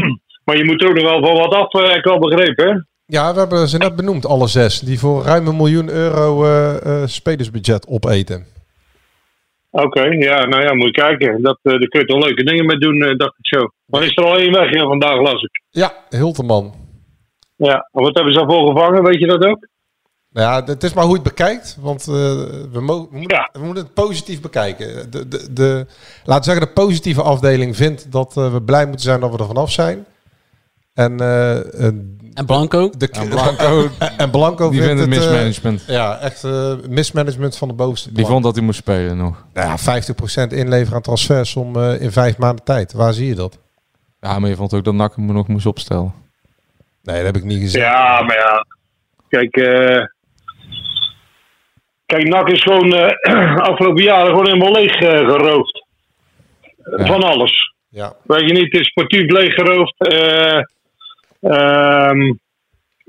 Speaker 11: maar je moet er ook nog wel van wat af, eh, ik al begrepen, hè?
Speaker 7: ja, we hebben ze net benoemd, alle zes. Die voor ruim een miljoen euro eh, eh, spelersbudget opeten.
Speaker 11: Oké, ja, nou ja, moet je kijken. Dat, eh, daar kun je toch leuke dingen mee doen, eh, dacht ik zo. Maar is er al één weg hier vandaag, las ik.
Speaker 7: Ja, Hilterman.
Speaker 11: Ja, en wat hebben ze daarvoor gevangen, weet je dat ook?
Speaker 7: Nou ja, het is maar hoe je het bekijkt. Want eh, we, mo- we moeten,
Speaker 11: Ja.
Speaker 7: we moeten het positief bekijken. De, de, de, laten we zeggen, de positieve afdeling vindt dat eh, we blij moeten zijn dat we er vanaf zijn. En, eh, eh,
Speaker 6: En Blanco?
Speaker 7: de,
Speaker 8: En Blanco,
Speaker 7: en Blanco
Speaker 8: die vindt het
Speaker 7: eh,
Speaker 8: mismanagement.
Speaker 7: ja, echt eh, mismanagement van de bovenste
Speaker 8: Die
Speaker 7: plank.
Speaker 8: vond dat hij moest spelen nog.
Speaker 7: Nou ja, 50% inleveren aan transfers om eh, in vijf maanden tijd. Waar zie je dat?
Speaker 8: Ja, maar je vond ook dat Nak hem nog moest opstellen.
Speaker 7: Nee, dat heb ik niet gezien.
Speaker 11: Ja, maar ja. Kijk, eh kijk NAC is gewoon eh, afgelopen jaren gewoon helemaal leeg eh, geroofd.
Speaker 8: Ja.
Speaker 11: Van alles.
Speaker 7: Ja.
Speaker 11: Weet je niet, het is sportief leeggeroofd. Eh, ehm,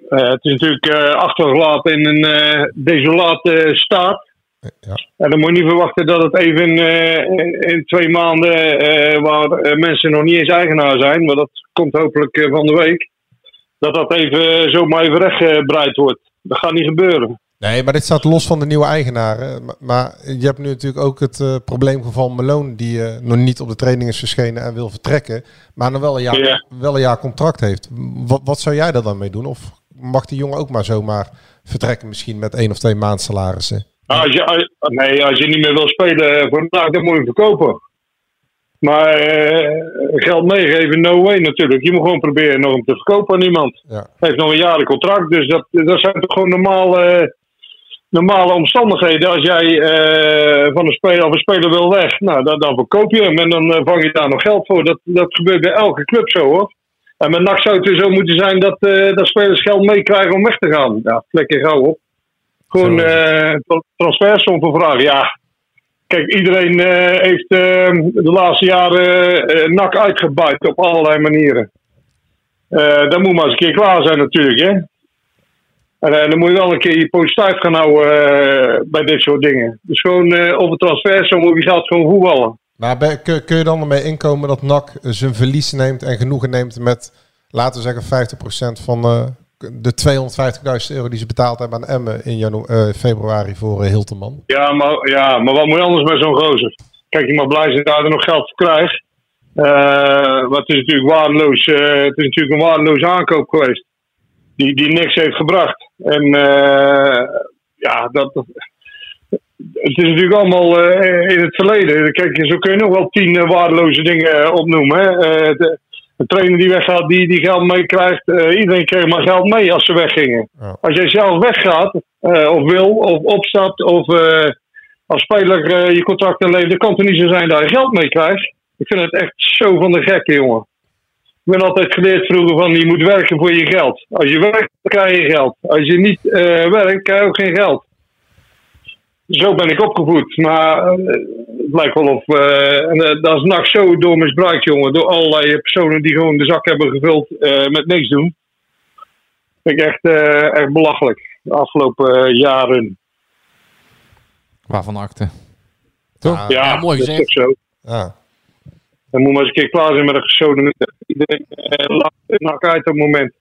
Speaker 11: eh, het is natuurlijk eh, achtergelaten in een eh, desolate staat.
Speaker 7: Ja.
Speaker 11: En dan moet je niet verwachten dat het even eh, in, in twee maanden, eh, waar eh, mensen nog niet eens eigenaar zijn, maar dat komt hopelijk eh, van de week, dat dat even eh, zomaar even rechtgebreid wordt. Dat gaat niet gebeuren.
Speaker 7: Nee, maar dit staat los van de nieuwe eigenaren. Maar, maar je hebt nu natuurlijk ook het eh, probleemgeval Malone, die eh, nog niet op de training is verschenen en wil vertrekken, maar nog wel een jaar,
Speaker 11: Ja.
Speaker 7: wel een jaar contract heeft. Wat, wat zou jij daar dan mee doen? Of mag die jongen ook maar zomaar vertrekken, misschien met één of twee maand salarissen?
Speaker 11: Als je, als- nee, als je niet meer wil spelen voor vandaag, dan moet je hem verkopen. Maar eh, geld meegeven, no way natuurlijk. Je moet gewoon proberen nog hem te verkopen aan iemand.
Speaker 7: Ja.
Speaker 11: Hij heeft nog een jaren contract, dus dat, dat zijn toch gewoon normale, normale omstandigheden. Als jij eh, van een speler of een speler wil weg, nou, dan, dan verkoop je hem en dan eh, vang je daar nog geld voor. Dat, dat gebeurt bij elke club zo hoor. En met NAC zou het weer zo moeten zijn dat, eh, dat spelers geld meekrijgen om weg te gaan. Ja, flikker gauw op. Gewoon
Speaker 8: Zo is
Speaker 11: eh tra- transfersom voor vragen. Ja, kijk, iedereen eh, heeft eh, de laatste jaren eh NAC uitgebuit op allerlei manieren. Eh dat moet maar eens een keer klaar zijn natuurlijk, hè. En eh, dan moet je wel een keer je poot stijf gaan houden eh, bij dit soort dingen. Dus gewoon eh over transfersom of je gaat gewoon voetballen.
Speaker 7: Maar ben- kun, kun je dan ermee inkomen dat NAC eh, zijn verlies neemt en genoegen neemt met, laten laten we zeggen 50% van eh, de 250.000 euro die ze betaald hebben aan Emmen in janu- eh, februari voor eh, Hilterman.
Speaker 11: Ja maar, ja, maar wat moet je anders met zo'n gozer? Kijk, je mag blij zijn dat je er nog geld voor krijgt. Eh maar het is natuurlijk, waardeloos, eh, het is natuurlijk een waardeloze aankoop geweest. Die, die niks heeft gebracht. En eh, ja, dat, dat- het is natuurlijk allemaal eh, in het verleden. Kijk, zo kun je nog wel tien eh, waardeloze dingen eh, opnoemen. Hè? Eh, de, de trainer die weggaat, die, die geld meekrijgt. eh, iedereen kreeg maar geld mee als ze weggingen.
Speaker 7: Ja.
Speaker 11: Als jij zelf weggaat, eh, of wil, of opstapt, of eh, als speler eh, je contract inlevert, dan kan het er niet zo zijn dat je geld mee krijgt. Ik vind het echt zo van de gekke, jongen. Ik ben altijd geleerd vroeger van je moet werken voor je geld. Als je werkt, krijg je geld. Als je niet eh, werkt, krijg je ook geen geld. Zo ben ik opgevoed. Maar eh, het lijkt wel of. eh, en, eh, dat is NAC zo door misbruikt, jongen. Door allerlei personen die gewoon de zak hebben gevuld eh, met niks doen. Vind ik echt, eh, echt belachelijk. De afgelopen eh, jaren.
Speaker 8: Waarvan akte?
Speaker 7: Ah,
Speaker 11: ja,
Speaker 6: mooi
Speaker 11: dat is
Speaker 6: gezegd.
Speaker 11: toch zo.
Speaker 7: ja.
Speaker 11: Dan moet maar eens een keer klaar zijn met een gezoden. Iedereen eh, lacht NAC uit op het moment.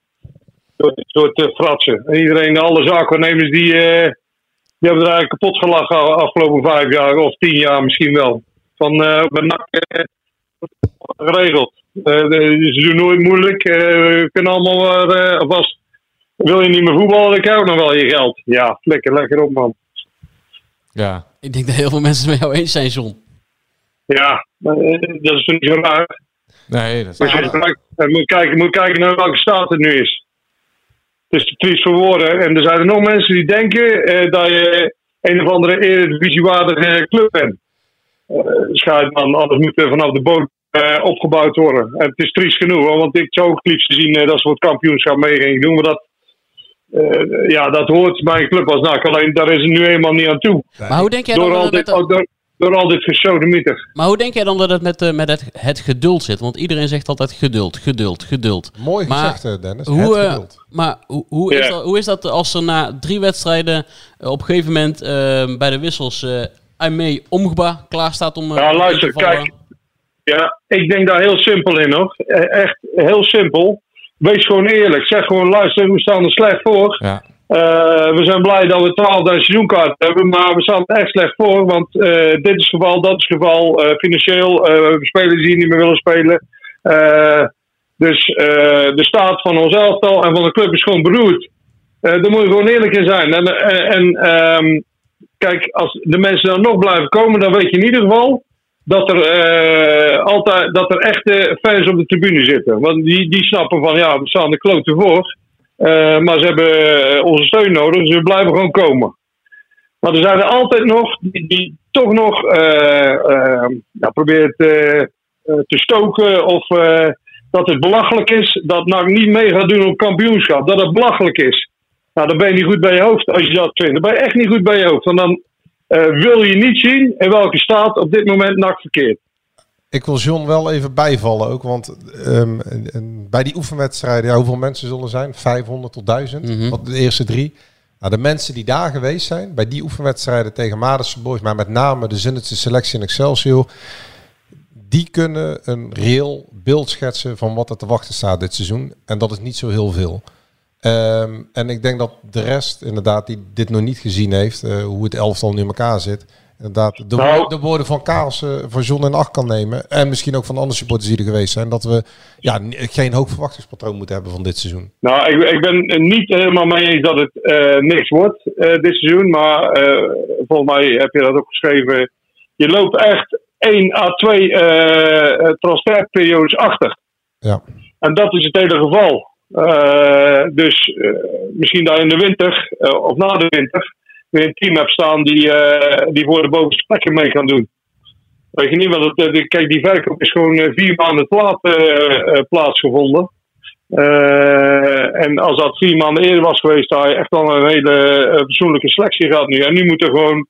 Speaker 11: Door dit soort eh, fratsen. En iedereen, alle zaakwaarnemers, die, eh, die hebben er eigenlijk kapot gelachen de afgelopen vijf jaar of tien jaar misschien wel. Van eh bij NAC eh, geregeld. Eh, de- ze doen nooit moeilijk. eh, we kunnen allemaal maar, eh, alvast. Wil je niet meer voetballen, dan krijg je ook nog wel je geld. Ja, lekker, lekker op man.
Speaker 8: Ja.
Speaker 6: Ik denk dat heel veel mensen het met jou eens zijn, John.
Speaker 11: Ja, eh, dat is toch niet zo raar.
Speaker 8: Nee, dat
Speaker 11: Moet je
Speaker 8: is...
Speaker 11: kijken- eh, moet, kijken, moet kijken naar welke staat het nu is. Het is te triest voor woorden. En er zijn er nog mensen die denken eh, dat je een of andere eredivisiewaardige club bent. Eh schijt man, alles moet er vanaf de boot eh, opgebouwd worden. En het is triest genoeg, hoor, want ik zou ook het liefst zien eh, dat ze wat kampioenschap mee gingen doen. Maar dat, eh, ja, dat hoort bij een club als NAC. Alleen daar is het nu eenmaal niet aan toe.
Speaker 6: Maar hoe denk jij dan
Speaker 11: Door
Speaker 6: dat
Speaker 11: al
Speaker 6: het met
Speaker 11: dit,
Speaker 6: dat-
Speaker 11: ook door, door al dit gesodemieter.
Speaker 6: maar hoe denk jij dan dat het met, eh, met het, het geduld zit? Want iedereen zegt altijd geduld, geduld, geduld.
Speaker 7: Mooi
Speaker 6: Maar
Speaker 7: gezegd, eh, Dennis.
Speaker 6: Hoe,
Speaker 7: het
Speaker 6: eh,
Speaker 7: geduld.
Speaker 6: maar hoe, hoe,
Speaker 11: Ja.
Speaker 6: is dat, hoe is dat als er na drie wedstrijden eh, op een gegeven moment eh, bij de wissels eh Aimee Omgba klaar staat om... eh,
Speaker 11: Ja,
Speaker 6: om
Speaker 11: luister,
Speaker 6: in te vallen?
Speaker 11: kijk. Ja, ik denk daar heel simpel in hoor. E- Echt heel simpel. Wees gewoon eerlijk. Zeg gewoon, luister, we staan er slecht voor.
Speaker 8: Ja.
Speaker 11: Eh, we zijn blij dat we 12.000 seizoenkaarten hebben, maar we staan er echt slecht voor. Want eh, dit is het geval, dat is het geval. eh, financieel, eh spelers die niet meer willen spelen. Eh, dus eh, de staat van ons elftal en van de club is gewoon beroerd. Eh daar moet je gewoon eerlijk in zijn. En, eh, en ehm, kijk, als de mensen dan nog blijven komen, dan weet je in ieder geval dat er, eh, altijd, dat er echte fans op de tribune zitten. Want die, die snappen van ja, we staan de kloten voor. Eh, maar ze hebben eh, onze steun nodig, dus we blijven gewoon komen. Maar er zijn er altijd nog die, die toch nog eh, eh, ja, probeert eh, eh, te stoken of eh, dat het belachelijk is dat NAC niet mee gaat doen op kampioenschap. Dat het belachelijk is. Nou, dan ben je niet goed bij je hoofd als je dat vindt. Dan ben je echt niet goed bij je hoofd. Want dan eh, wil je niet zien in welke staat op dit moment NAC verkeert.
Speaker 7: Ik wil John wel even bijvallen ook, want ehm, en- en bij die oefenwedstrijden, ja, hoeveel mensen zullen er zijn? 500 tot 1000,
Speaker 6: Mhm.
Speaker 7: wat de eerste drie. Nou, de mensen die daar geweest zijn, bij die oefenwedstrijden tegen Madense Boys, maar met name de Zinnetse Selectie en Excelsior, die kunnen een reëel beeld schetsen van wat er te wachten staat dit seizoen. En dat is niet zo heel veel. Ehm, en ik denk dat de rest, inderdaad, die dit nog niet gezien heeft, eh, hoe het elftal nu in elkaar zit, inderdaad de,
Speaker 11: Nou.
Speaker 7: woorden- de woorden van Kaals, eh, van John en Acht kan nemen. En misschien ook van de andere supporters die er geweest zijn, dat we ja, ni- geen hoog verwachtingspatroon moeten hebben van dit seizoen.
Speaker 11: Nou, ik, ik ben het niet helemaal mee eens dat het eh, niks wordt eh, dit seizoen. Maar eh, volgens mij heb je dat ook geschreven. Je loopt echt 1 à 2 eh, transferperiodes achter.
Speaker 7: Ja.
Speaker 11: En dat is het hele geval. Eh, dus eh, misschien daar in de winter eh, of na de winter weer een team hebt staan die, eh, die voor de bovenste plekken mee kan doen. Weet je niet, want het, eh, de- kijk, die verkoop is gewoon eh, vier maanden te laat eh, eh, plaatsgevonden. Eh, en als dat vier maanden eerder was geweest, dan had je echt wel een hele eh, persoonlijke selectie gehad nu. En nu moet er gewoon,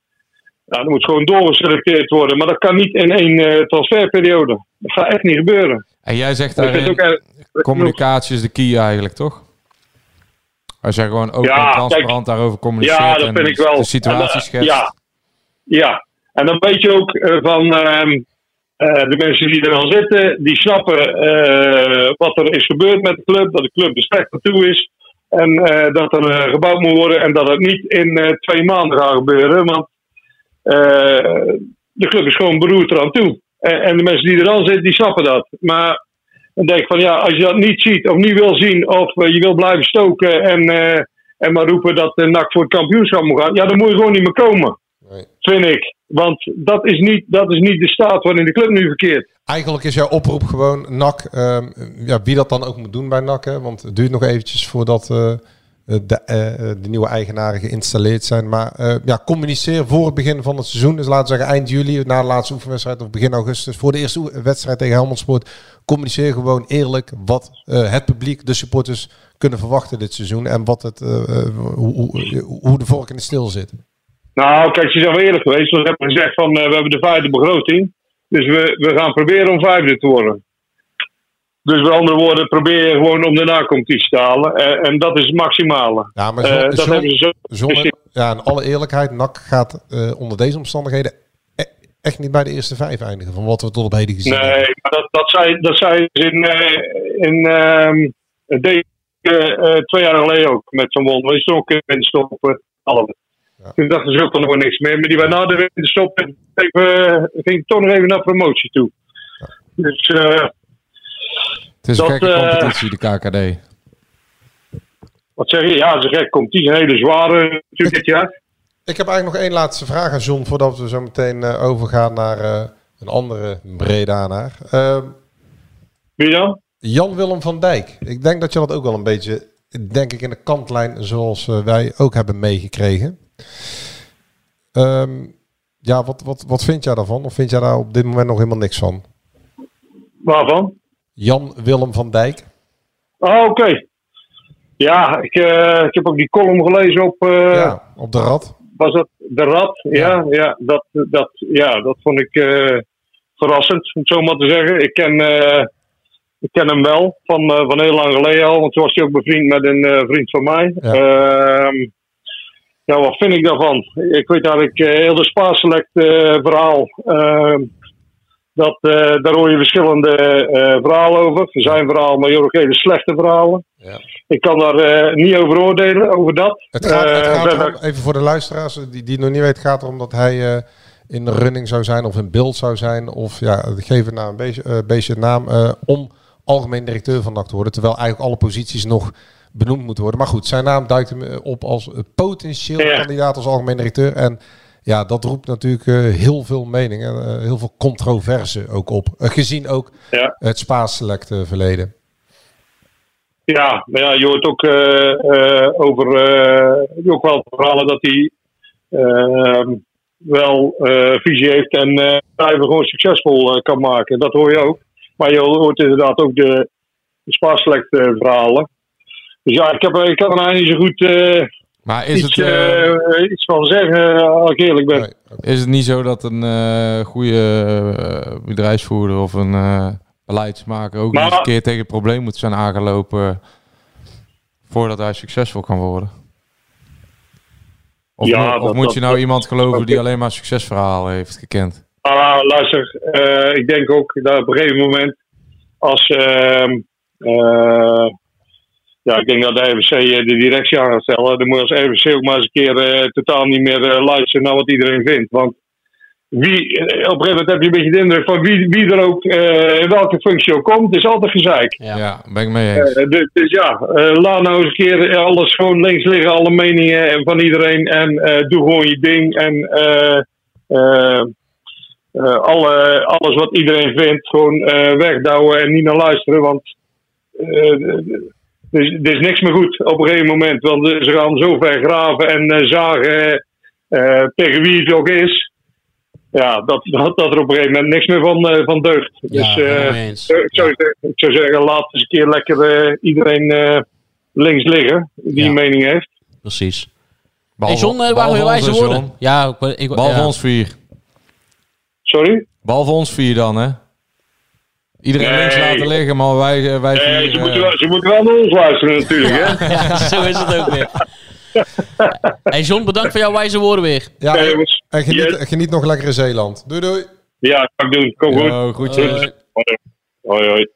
Speaker 11: ja, er moet gewoon doorgeselecteerd worden. Maar dat kan niet in één eh, transferperiode. Dat gaat echt niet gebeuren.
Speaker 8: En jij zegt
Speaker 11: Ik vind het
Speaker 8: daarin,
Speaker 11: ook erg-
Speaker 8: communicatie is de key eigenlijk, toch? Als jij gewoon open
Speaker 11: Ja,
Speaker 8: en transparant daarover communiceert
Speaker 11: Ja, dat
Speaker 8: en
Speaker 11: vind ik wel.
Speaker 8: de
Speaker 11: En,
Speaker 8: situatie
Speaker 11: eh,
Speaker 8: schetst.
Speaker 11: Ja. ja, en dan weet je ook eh, van ehm, Eh, de mensen die er al zitten, die snappen eh, wat er is gebeurd met de club. Dat de club er slecht aan toe is. En eh, dat er eh, gebouwd moet worden. En dat het niet in eh, twee maanden gaat gebeuren. Want eh, de club is gewoon beroerd eraan toe. En, en de mensen die er al zitten, die snappen dat. Maar dan denk ik van ja, als je dat niet ziet of niet wil zien. Of eh, je wil blijven stoken en, eh, en maar roepen dat de NAC voor het kampioenschap moet gaan. Ja, dan moet je gewoon niet meer komen. Vind ik. Want dat is, niet, dat is niet de staat waarin de club nu verkeert.
Speaker 7: Eigenlijk is jouw oproep gewoon NAC, ehm, ja, wie dat dan ook moet doen bij NAC. Hè, want het duurt nog eventjes voordat eh, eh, de, eh, eh, de nieuwe eigenaren geïnstalleerd zijn. Maar eh, ja, communiceer voor het begin van het seizoen. Dus laten we zeggen eind juli, na de laatste oefenwedstrijd of begin augustus. Voor de eerste oe- wedstrijd tegen Helmond Sport. Communiceer gewoon eerlijk wat eh, het publiek, de supporters, kunnen verwachten dit seizoen. En wat het, eh, eh, hoe, hoe, hoe de vork in de steel zit.
Speaker 11: Nou, kijk, ze zijn wel eerlijk geweest. want Ze hebben gezegd van eh, we hebben de vijfde begroting. Dus we, we gaan proberen om vijfde te worden. Dus met andere woorden, probeer je gewoon om de nacompetitie te halen. Eh, en dat is het maximale.
Speaker 7: Ja, maar
Speaker 11: Eh,
Speaker 7: zon-
Speaker 11: dat
Speaker 7: zon-
Speaker 11: hebben ze zo.
Speaker 7: zonder, ja, in alle eerlijkheid, NAC gaat eh, onder deze omstandigheden e- echt niet bij de eerste vijf eindigen. Van wat we tot op heden gezien hebben.
Speaker 11: Nee, maar dat, dat, zei, dat zei ze in, eh, in ehm, deze, eh, eh, twee jaar geleden ook met zo'n wonder. Is er ook een winterstop eh, halve. Toen dachten ze ook van nog niks meer. Maar die waren na de winterstop en even, eh, ging toch nog even naar promotie toe. Dus eh,
Speaker 8: Het is een
Speaker 11: Dat,
Speaker 8: gekke
Speaker 11: eh,
Speaker 8: competitie, de KKD.
Speaker 11: wat zeg je? Ja, ze gek komt die hele zware natuurlijk dit jaar.
Speaker 7: Ik heb eigenlijk nog één laatste vraag aan John voordat we zo meteen eh, overgaan naar eh, een andere Bredanaar. Ehm
Speaker 11: Wie dan?
Speaker 7: Jan-Willem van Dijk. Ik denk dat je dat ook wel een beetje, denk ik, in de kantlijn zoals eh, wij ook hebben meegekregen. Ehm, ja, wat, wat, wat vind jij daarvan? Of vind jij daar op dit moment nog helemaal niks van?
Speaker 11: Waarvan?
Speaker 7: Jan-Willem van Dijk.
Speaker 11: Oh, oké. Ja, ik, eh, ik heb ook die column gelezen op, eh,
Speaker 7: Ja, op de rad.
Speaker 11: was dat de rat? Ja, ja. dat, dat, ja dat vond ik eh, verrassend, om het zo maar te zeggen. Ik ken, eh, ik ken hem wel, van, eh, van heel lang geleden al. Want toen was hij ook bevriend met een eh, vriend van mij.
Speaker 7: Ja.
Speaker 11: Ehm, ja, wat vind ik daarvan? Ik weet eigenlijk eh, heel de spaarselect eh verhaal... ehm, dat, eh, daar hoor je verschillende eh, verhalen over. Zijn verhaal, maar je hoort ook hele slechte verhalen. Ik kan daar eh, niet over oordelen, over dat.
Speaker 7: Het gaat, het
Speaker 11: Eh,
Speaker 7: gaat
Speaker 11: verder-
Speaker 7: erom, even voor de luisteraars die, die het nog niet weten, het gaat erom dat hij eh, in de running zou zijn of in beeld zou zijn. Of ja, geef het nou een beetje, eh, beestje een naam eh, om algemeen directeur van NAC te worden. Terwijl eigenlijk alle posities nog benoemd moeten worden. Maar goed, zijn naam duikt hem eh, op als eh, potentieel
Speaker 11: Ja.
Speaker 7: kandidaat als algemeen directeur. En ja, dat roept natuurlijk eh, heel veel meningen, eh, heel veel controverse ook op. Eh, gezien ook
Speaker 11: Ja.
Speaker 7: het Spaas Select eh, verleden.
Speaker 11: Ja, maar ja, je hoort ook eh, eh, over eh, ook wel verhalen dat hij eh, wel eh, visie heeft en eh bedrijven gewoon succesvol eh, kan maken. Dat hoor je ook. Maar je hoort inderdaad ook de, de spaarselect eh, verhalen. Dus ja, ik, heb, er- ik kan er eigenlijk niet zo goed eh,
Speaker 8: Maar is
Speaker 11: iets,
Speaker 8: het, eh,
Speaker 11: eh, iets van zeggen, eh, als ik eerlijk ben.
Speaker 7: Nee.
Speaker 8: is het niet zo dat een eh, goede eh, bedrijfsvoerder of een eh, beleidsmaker ook
Speaker 11: Maar-
Speaker 8: eens een keer tegen het probleem moet zijn aangelopen voordat hij succesvol kan worden? Of,
Speaker 11: Ja,
Speaker 8: mo- of
Speaker 11: dat-
Speaker 8: moet
Speaker 11: dat-
Speaker 8: je nou
Speaker 11: dat-
Speaker 8: iemand geloven
Speaker 11: dat-
Speaker 8: die alleen maar succesverhalen heeft gekend?
Speaker 11: Maar Ah, luister, eh, ik denk ook dat op een gegeven moment als. ehm, eh, ja, ik denk dat de RVC eh, de directie aan gaat stellen. Dan moet je als RVC ook maar eens een keer eh, totaal niet meer eh, luisteren naar wat iedereen vindt. Want wie, eh, op een gegeven moment heb je een beetje de indruk van wie, wie er ook eh, in welke functie ook komt. Het is altijd gezeik.
Speaker 8: Ja, ben ik mee eens.
Speaker 11: Eh, dus, dus ja, eh, laat nou eens een keer alles gewoon links liggen, alle meningen en van iedereen. En eh, doe gewoon je ding. En eh, eh, eh, alle, alles wat iedereen vindt, gewoon eh, wegduwen en niet naar luisteren. Want eh, er is- er is niks meer goed op een gegeven moment. Want eh, ze gaan zo ver graven en eh, zagen eh, tegen wie het ook is. Ja, dat, dat, dat er op een gegeven moment niks meer van, eh, van deugt. dus, eh,
Speaker 6: helemaal mee eens.
Speaker 11: eh, ik, zou, zeggen- ik zou zeggen, laat eens een keer lekker eh, iedereen eh, links liggen die
Speaker 6: Ja.
Speaker 11: een mening heeft.
Speaker 6: Precies. Hey
Speaker 8: Behalve-
Speaker 6: John, eh, waren
Speaker 8: behalve
Speaker 6: heel wijze
Speaker 8: onze
Speaker 6: woorden.
Speaker 8: John.
Speaker 6: Ja, ik, ik,
Speaker 8: Behalve
Speaker 6: ja.
Speaker 8: ons vier.
Speaker 11: Sorry?
Speaker 8: Behalve ons vier dan, hè? Iedereen
Speaker 11: Nee.
Speaker 8: links laten liggen, maar wij, wij vier...
Speaker 11: Eh, ze,
Speaker 8: eh,
Speaker 11: moeten wel, ze moeten wel naar ons luisteren natuurlijk. Hè?
Speaker 6: Ja, zo is het ook weer. Hey John, bedankt voor jouw wijze woorden weer.
Speaker 7: Ja,
Speaker 11: Oké,
Speaker 7: en-
Speaker 11: jongens.
Speaker 7: en geniet,
Speaker 11: Yes.
Speaker 7: geniet nog lekker in Zeeland. Doei doei.
Speaker 11: Ja, kan ik doen. Kom
Speaker 8: Yo,
Speaker 11: goed.
Speaker 8: groetjes.
Speaker 11: Goed. Hoi. Hoi, hoi.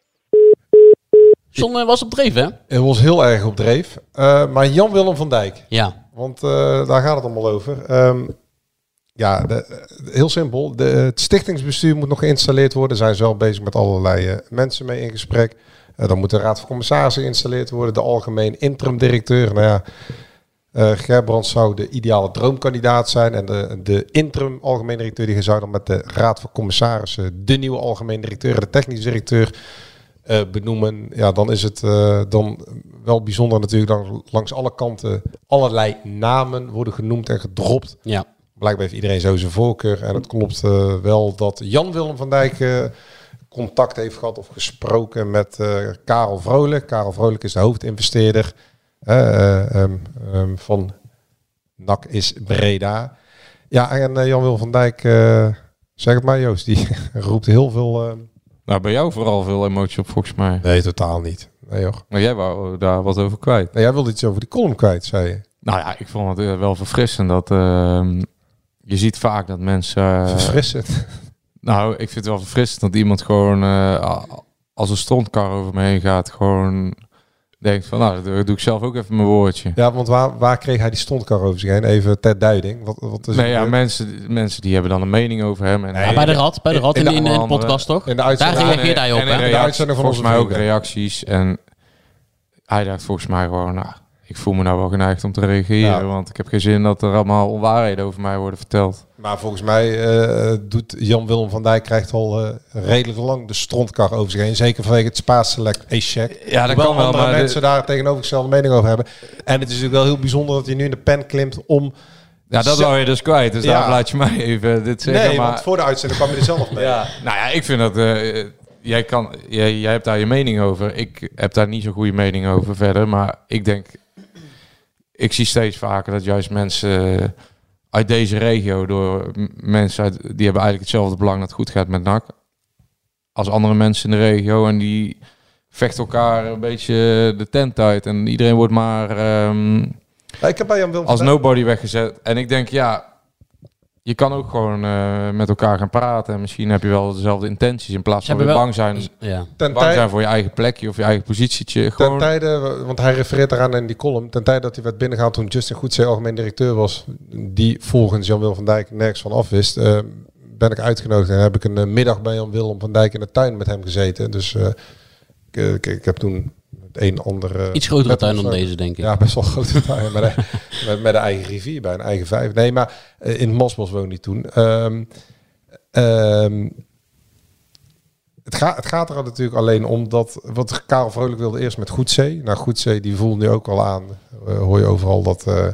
Speaker 6: John eh, was op dreef, hè?
Speaker 7: Het was heel erg op dreef. Eh, maar Jan-Willem van Dijk,
Speaker 6: Ja.
Speaker 7: want eh, daar gaat het allemaal over. Ehm, ja, de- heel simpel. De, het stichtingsbestuur moet nog geïnstalleerd worden. Daar zijn ze wel bezig met allerlei eh, mensen mee in gesprek. Eh, dan moet de raad van commissarissen geïnstalleerd worden. De algemeen interim-directeur. Nou ja, eh Gerbrand zou de ideale droomkandidaat zijn. En de, de interim-algemeen directeur die zou dan met de raad van commissarissen... de nieuwe algemeen directeur en de technisch directeur eh, benoemen. Ja, dan is het eh, dan wel bijzonder natuurlijk... dat langs alle kanten allerlei namen worden genoemd en gedropt...
Speaker 6: Ja.
Speaker 7: Blijkbaar heeft iedereen zo zijn voorkeur. En het klopt eh, wel dat Jan-Willem van Dijk eh, contact heeft gehad of gesproken met eh, Karel Vrolijk. Karel Vrolijk is de hoofdinvesteerder eh, eh, ehm, ehm, van NAC is Breda. Ja, en eh, Jan-Willem van Dijk, eh, zeg het maar Joost, die roept heel veel... eh,
Speaker 8: Nou, bij jou vooral veel emotie op, volgens mij.
Speaker 7: nee, totaal niet. Nee joh.
Speaker 8: Maar jij wou daar wat over kwijt.
Speaker 7: Nee, Nou, jij wilde iets over die column kwijt, zei je.
Speaker 8: Nou ja, ik vond het eh, wel verfrissend dat ehm, je ziet vaak dat mensen. eh,
Speaker 7: Verfrissend.
Speaker 8: nou, ik vind het wel verfrissend dat iemand gewoon eh, a- als een strontkar over me heen gaat, gewoon denkt van, nou, dat doe ik zelf ook even mijn woordje.
Speaker 7: Ja, want waar, waar kreeg hij die stondkar over zich heen? Even ter duiding. Wat, wat is
Speaker 8: Nee,
Speaker 7: er
Speaker 8: ja,
Speaker 7: gebeurd?
Speaker 8: mensen, mensen die hebben dan een mening over hem. En,
Speaker 6: Ja, bij de rat, bij de rat in,
Speaker 8: de
Speaker 6: in, in de
Speaker 8: andere-
Speaker 6: podcast, toch?
Speaker 7: in de
Speaker 6: Daar
Speaker 7: uitzending.
Speaker 6: reageert hij op,
Speaker 8: en een
Speaker 6: hè?
Speaker 8: reactie-
Speaker 7: uitzending van
Speaker 8: volgens
Speaker 7: onze
Speaker 8: mij ook
Speaker 7: vrienden.
Speaker 8: reacties. En hij dacht volgens mij gewoon, nou, ik voel me nou wel geneigd om te reageren,
Speaker 7: Ja.
Speaker 8: want ik heb geen zin dat er allemaal onwaarheden over mij worden verteld.
Speaker 7: Maar volgens mij eh, doet Jan-Willem van Dijk krijgt al eh, redelijk lang de strontkar over zich heen. Zeker vanwege het Spaanse select e-check.
Speaker 8: Ja, dat
Speaker 7: Hoewel
Speaker 8: kan wel,
Speaker 7: andere
Speaker 8: maar dit-
Speaker 7: mensen daar tegenovergestelde mening over hebben. En het is natuurlijk wel heel bijzonder dat hij nu in de pen klimt om...
Speaker 8: Ja, dat
Speaker 7: Zo-
Speaker 8: wou je dus kwijt. Dus
Speaker 7: Ja.
Speaker 8: daarom laat je mij even dit zeggen.
Speaker 7: nee,
Speaker 8: maar,
Speaker 7: want voor de uitzending kwam je er zelf mee.
Speaker 8: ja. Nou ja, ik vind dat... eh, jij, kan, jij, jij hebt daar je mening over. Ik heb daar niet zo'n goede mening over verder. Maar ik denk... Ik zie steeds vaker dat juist mensen uit deze regio... door m- mensen uit, die hebben eigenlijk hetzelfde belang dat het goed gaat met NAC... als andere mensen in de regio. En die vechten elkaar een beetje de tent uit. En iedereen wordt maar... ehm,
Speaker 7: Ik heb bij Jan-Willem van
Speaker 8: als
Speaker 7: Dijk-
Speaker 8: nobody weggezet. En ik denk, ja, je kan ook gewoon eh, met elkaar gaan praten. En misschien heb je wel dezelfde intenties. In plaats
Speaker 6: Ze
Speaker 8: van
Speaker 6: hebben
Speaker 8: weer
Speaker 6: wel-
Speaker 8: bang zijn,
Speaker 6: Ja.
Speaker 7: ten
Speaker 8: bang
Speaker 7: tij-
Speaker 8: zijn voor je eigen plekje of je eigen positietje.
Speaker 7: Ten
Speaker 8: Gewoon,
Speaker 7: tijde, want hij refereert eraan in die column, ten tijde dat hij werd binnengehaald toen Justin Goedzee algemeen directeur was, die volgens Jan-Willem van Dijk nergens van af wist, eh, ben ik uitgenodigd en heb ik een eh, middag bij Jan-Willem van Dijk in de tuin met hem gezeten. Dus eh, ik, eh, ik, ik heb toen het een andere...
Speaker 6: Iets grotere
Speaker 7: met
Speaker 6: tuin
Speaker 7: hem
Speaker 6: dan
Speaker 7: gesproken.
Speaker 6: deze, denk ik.
Speaker 7: Ja, best wel een grote tuin. Met, een- met, met een eigen rivier bij, een eigen vijf. Nee, maar eh, in Mosbos woonde hij toen. Ehm, ehm, het, gaat het gaat er natuurlijk alleen om dat... Wat Karel Vrolijk wilde eerst met Goedzee. Nou, Goedzee die voelt nu ook al aan. eh, hoor je overal dat... eh,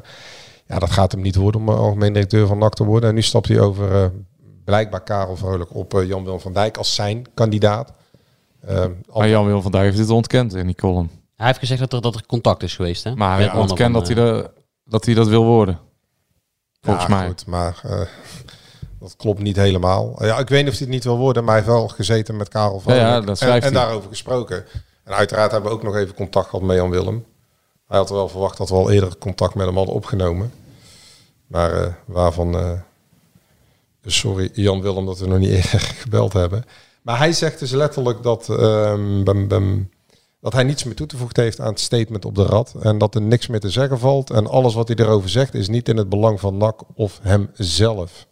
Speaker 7: ja, dat gaat hem niet worden om eh, algemeen directeur van NAC te worden. En nu stapt hij over eh, blijkbaar Karel Vrolijk op eh, Jan-Willem van Dijk als zijn kandidaat. Ehm,
Speaker 8: maar Jan Wil van Dijk heeft dit ontkend in die column.
Speaker 6: Hij heeft gezegd dat er, dat er contact is geweest, hè?
Speaker 8: Maar hij
Speaker 6: Met mannen
Speaker 8: ontkent
Speaker 6: van,
Speaker 8: dat hij,
Speaker 6: eh,
Speaker 8: de, dat hij dat wil worden. Volgens
Speaker 7: Ja,
Speaker 8: mij.
Speaker 7: Goed, maar eh, dat klopt niet helemaal. Ja, ik weet niet of hij het niet wil worden, maar hij heeft wel gezeten met Karel van.
Speaker 8: Ja, ja,
Speaker 7: Hoek
Speaker 8: dat
Speaker 7: en,
Speaker 8: schrijft
Speaker 7: en
Speaker 8: hij.
Speaker 7: daarover gesproken. En uiteraard hebben we ook nog even contact gehad met Jan Willem. Hij had wel verwacht dat we al eerder contact met hem hadden opgenomen. Maar eh, waarvan. eh, dus sorry, Jan Willem, dat we nog niet eerder gebeld hebben. Maar hij zegt dus letterlijk dat. ehm, bem, bem, dat hij niets meer toe te voegen heeft aan het statement op de rad. En dat er niks meer te zeggen valt. En alles wat hij erover zegt is niet in het belang van NAC of hemzelf.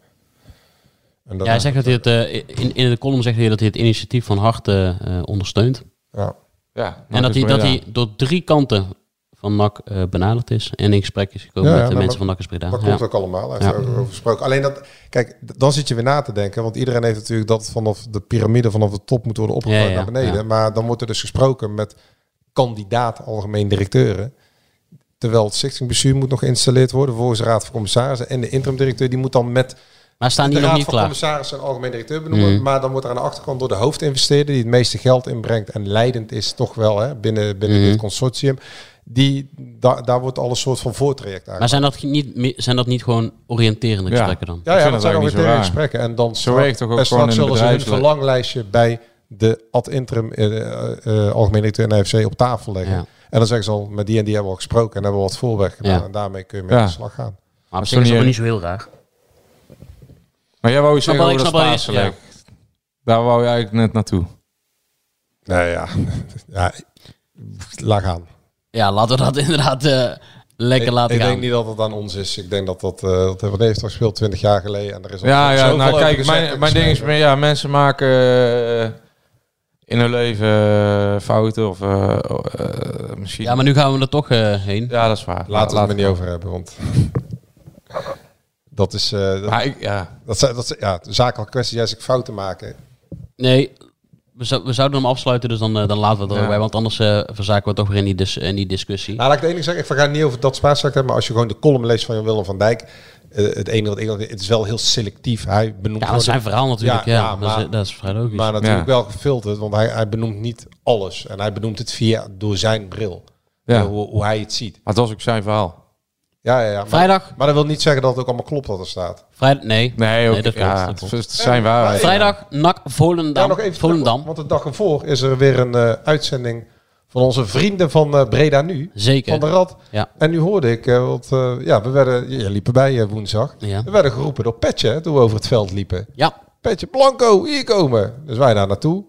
Speaker 7: En dat
Speaker 6: Ja, hij zegt dat hij het, eh, in, in de column zegt hij dat hij het initiatief van harte eh, ondersteunt.
Speaker 7: Ja.
Speaker 8: Ja,
Speaker 6: en dat hij, dat
Speaker 8: Breda.
Speaker 6: hij door drie kanten van NAC eh, benaderd is en in gesprek is gekomen
Speaker 7: Ja, ja,
Speaker 6: met de
Speaker 7: nee,
Speaker 6: mensen van
Speaker 7: maar-
Speaker 6: NAC is Breda.
Speaker 7: Dat
Speaker 6: Ja.
Speaker 7: komt ook allemaal. Hij heeft
Speaker 6: Ja.
Speaker 7: erover gesproken. Alleen dat, kijk, d- dan zit je weer na te denken. Want iedereen heeft natuurlijk dat vanaf de piramide, vanaf de top moet worden opgebouwd
Speaker 6: Ja, ja,
Speaker 7: naar beneden.
Speaker 6: ja.
Speaker 7: Maar dan wordt er dus gesproken met kandidaat algemeen directeuren. Terwijl het stichtingbestuur moet nog geïnstalleerd worden. Volgens de raad van commissarissen. En de interim directeur die moet dan met
Speaker 6: Maar staan die
Speaker 7: de
Speaker 6: nog
Speaker 7: raad
Speaker 6: niet
Speaker 7: van
Speaker 6: klaar? Hmm.
Speaker 7: commissarissen en algemeen directeur benoemen. Maar dan wordt er aan de achterkant door de hoofdinvesteerder... die het meeste geld inbrengt en leidend is toch wel hè, binnen, binnen
Speaker 6: Hmm.
Speaker 7: dit consortium... Die, da- daar wordt al een soort van voortraject aan.
Speaker 6: Maar zijn dat, niet, meer- zijn dat niet gewoon oriënterende
Speaker 8: Ja.
Speaker 6: gesprekken dan?
Speaker 7: Ja, ja
Speaker 8: vind
Speaker 7: dat
Speaker 8: dat
Speaker 7: zijn
Speaker 8: eigenlijk
Speaker 7: ook
Speaker 8: niet zo
Speaker 7: weer
Speaker 8: raar.
Speaker 7: gesprekken. En dan straks-
Speaker 8: werkt toch ook
Speaker 7: en
Speaker 8: gewoon
Speaker 7: straks
Speaker 8: in
Speaker 7: zullen ze hun
Speaker 8: bedrijfsleven.
Speaker 7: verlanglijstje bij de ad interim eh eh algemeen directeur NFC op tafel leggen.
Speaker 6: Ja.
Speaker 7: En dan zeggen ze al, met die en die hebben we al gesproken en hebben we wat voorweg gedaan.
Speaker 6: Ja.
Speaker 7: En daarmee kun je mee
Speaker 8: Ja.
Speaker 7: aan de slag gaan.
Speaker 6: Maar op
Speaker 8: is
Speaker 6: zich is
Speaker 8: toch
Speaker 6: het
Speaker 8: niet
Speaker 6: niet zo heel raar.
Speaker 8: Maar jij wou iets
Speaker 6: Snap
Speaker 8: zeggen
Speaker 6: wel,
Speaker 8: over dat
Speaker 6: ik snap wel,
Speaker 8: Spaanse
Speaker 6: ja.
Speaker 8: leg. Daar wou je eigenlijk net naartoe.
Speaker 7: Nou ja, ja laat gaan.
Speaker 6: Ja, laten we dat inderdaad eh, lekker
Speaker 7: ik,
Speaker 6: laten
Speaker 7: ik
Speaker 6: gaan.
Speaker 7: denk niet dat het aan ons is. Ik denk dat dat... eh dat hebben we heeft toch gespeeld 20 jaar geleden. En er is al
Speaker 8: Ja, ja
Speaker 7: zoveel
Speaker 8: nou
Speaker 7: over
Speaker 8: kijk,
Speaker 7: gezegd
Speaker 8: mijn,
Speaker 7: en
Speaker 8: mijn ding is meer, ja, mensen maken eh, in hun leven eh, fouten of eh, eh, misschien...
Speaker 6: Ja, maar nu gaan we er toch eh, heen.
Speaker 8: Ja, dat is waar.
Speaker 7: Laten we het
Speaker 8: Laat-
Speaker 7: er niet over hebben, want... Dat is... eh, dat,
Speaker 8: Maar ik, ja,
Speaker 7: dat, zijn- dat, zijn- ja, de zakelijke kwestie. Jij zegt fouten maken.
Speaker 6: Nee, we, zou- we zouden hem afsluiten, dus dan, eh, dan laten we het
Speaker 8: Ja.
Speaker 6: erbij. Want anders eh, verzaken we toch weer in die, dis- in die discussie.
Speaker 7: Nou, laat ik het enige zeggen. Ik ga het niet over dat spaarzaak hebben. Maar als je gewoon de column leest van Jan Willem van Dijk... eh, het enige wat ik... Het is wel heel selectief. Hij benoemt...
Speaker 6: ja, dat
Speaker 7: gewoon
Speaker 6: is zijn verhaal natuurlijk. Ja,
Speaker 7: Ja, ja,
Speaker 6: dat, is,
Speaker 7: maar-
Speaker 6: dat is vrij logisch.
Speaker 7: Maar natuurlijk
Speaker 8: Ja.
Speaker 7: wel gefilterd, want hij, hij benoemt niet alles. En hij benoemt het via door zijn bril.
Speaker 8: ja.
Speaker 7: Eh, Hoe, hoe hij het ziet.
Speaker 8: Maar het was ook zijn verhaal.
Speaker 7: Ja, ja, ja. Maar,
Speaker 6: Vrijdag.
Speaker 7: Maar dat wil niet zeggen dat het ook allemaal klopt wat er staat.
Speaker 6: Vrij, nee.
Speaker 8: Nee, ook,
Speaker 6: dat klopt,
Speaker 8: ja,
Speaker 6: dat klopt.
Speaker 8: het is zijn waarheid.
Speaker 6: Vrijdag, NAC, Volendam.
Speaker 7: Ja, nog even terug,
Speaker 6: Volendam.
Speaker 7: want de dag ervoor is er weer een eh, uitzending van onze vrienden van eh, Breda Nu.
Speaker 6: Zeker.
Speaker 7: Van de Rad.
Speaker 6: Ja.
Speaker 7: En nu hoorde ik, eh, want eh, ja, we werden, jij liep erbij eh, woensdag.
Speaker 6: Ja.
Speaker 7: We werden geroepen door Petje hè, toen we over het veld liepen.
Speaker 6: Ja,
Speaker 7: Petje, Blanco, hier komen. Dus wij daar naartoe.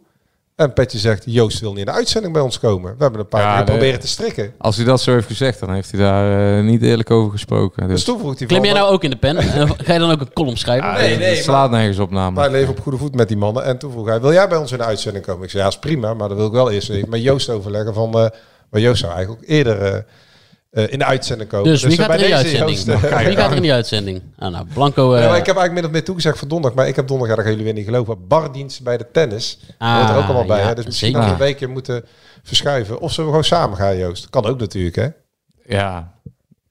Speaker 7: En Petje zegt, Joost wil niet in de uitzending bij ons komen. We hebben een paar
Speaker 8: Ja,
Speaker 7: keer
Speaker 8: de-
Speaker 7: proberen te strikken. Dus
Speaker 8: Als hij dat zo heeft gezegd, dan heeft hij daar eh, niet eerlijk over gesproken.
Speaker 7: Dus
Speaker 8: Dus,
Speaker 7: toen vroeg hij
Speaker 6: klim
Speaker 7: van,
Speaker 6: jij nou ook in de pen? En ga je dan ook een column schrijven?
Speaker 8: Ja,
Speaker 7: Ah, nee,
Speaker 8: het-
Speaker 7: nee,
Speaker 8: het slaat nergens op
Speaker 7: wij
Speaker 8: namelijk.
Speaker 7: leven op goede voet met die mannen. En toen vroeg hij, wil jij bij ons in de uitzending komen? Ik zei, ja, is prima, maar dan wil ik wel eerst even met Joost overleggen van... eh maar Joost zou eigenlijk ook eerder eh, eh, in de uitzending komen.
Speaker 6: Dus wie
Speaker 7: eh,
Speaker 6: gaat er in die
Speaker 7: deze,
Speaker 6: uitzending? Nou,
Speaker 7: Joost, eh,
Speaker 6: Wie gaat er in die uitzending? Ah, nou, Blanco... eh,
Speaker 7: ja, maar ik heb eigenlijk min of meer toegezegd voor donderdag, maar ik heb donderdag, ja, dat gaan jullie weer niet geloven, bardienst bij de tennis.
Speaker 6: Ah,
Speaker 7: Ah, hoort er ook allemaal bij,
Speaker 6: ja,
Speaker 7: hè? dus misschien
Speaker 6: zeker.
Speaker 7: dat we een weekje moeten verschuiven. Of zullen we gewoon samen gaan, Joost? Kan ook natuurlijk, hè?
Speaker 8: Ja.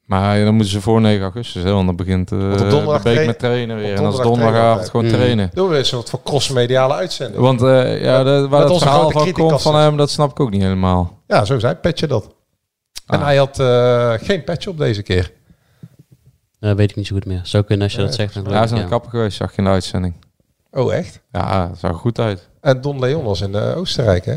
Speaker 8: Maar eh, dan moeten ze voor 9 augustus, hè, want dan begint eh,
Speaker 7: op
Speaker 8: de
Speaker 7: donderdag
Speaker 8: week
Speaker 7: tra-
Speaker 8: met trainen weer.
Speaker 7: op
Speaker 8: En dat is
Speaker 7: donderdag
Speaker 8: donderdagavond
Speaker 7: trainen
Speaker 8: gewoon
Speaker 6: we. Mm.
Speaker 8: trainen.
Speaker 7: Doen we een soort van crossmediale uitzending.
Speaker 8: Want eh, ja, de- waar
Speaker 7: met
Speaker 8: dat
Speaker 7: onze
Speaker 8: verhaal
Speaker 7: grote
Speaker 8: van komt van
Speaker 7: criticasters.
Speaker 8: hem, dat snap ik ook niet helemaal.
Speaker 7: Ja, zo zei Petje dat. En
Speaker 8: Ah.
Speaker 7: hij had eh, geen petje op deze keer.
Speaker 6: eh, weet ik niet zo goed meer. Zou kunnen als je dat zegt. dan
Speaker 8: Hij
Speaker 6: geloof
Speaker 8: is
Speaker 6: ik,
Speaker 8: aan
Speaker 6: ja.
Speaker 8: de kapper geweest, zag je in de uitzending.
Speaker 7: Oh, echt?
Speaker 8: Ja, dat zag er goed uit.
Speaker 7: En Don Leon was in eh, Oostenrijk, hè?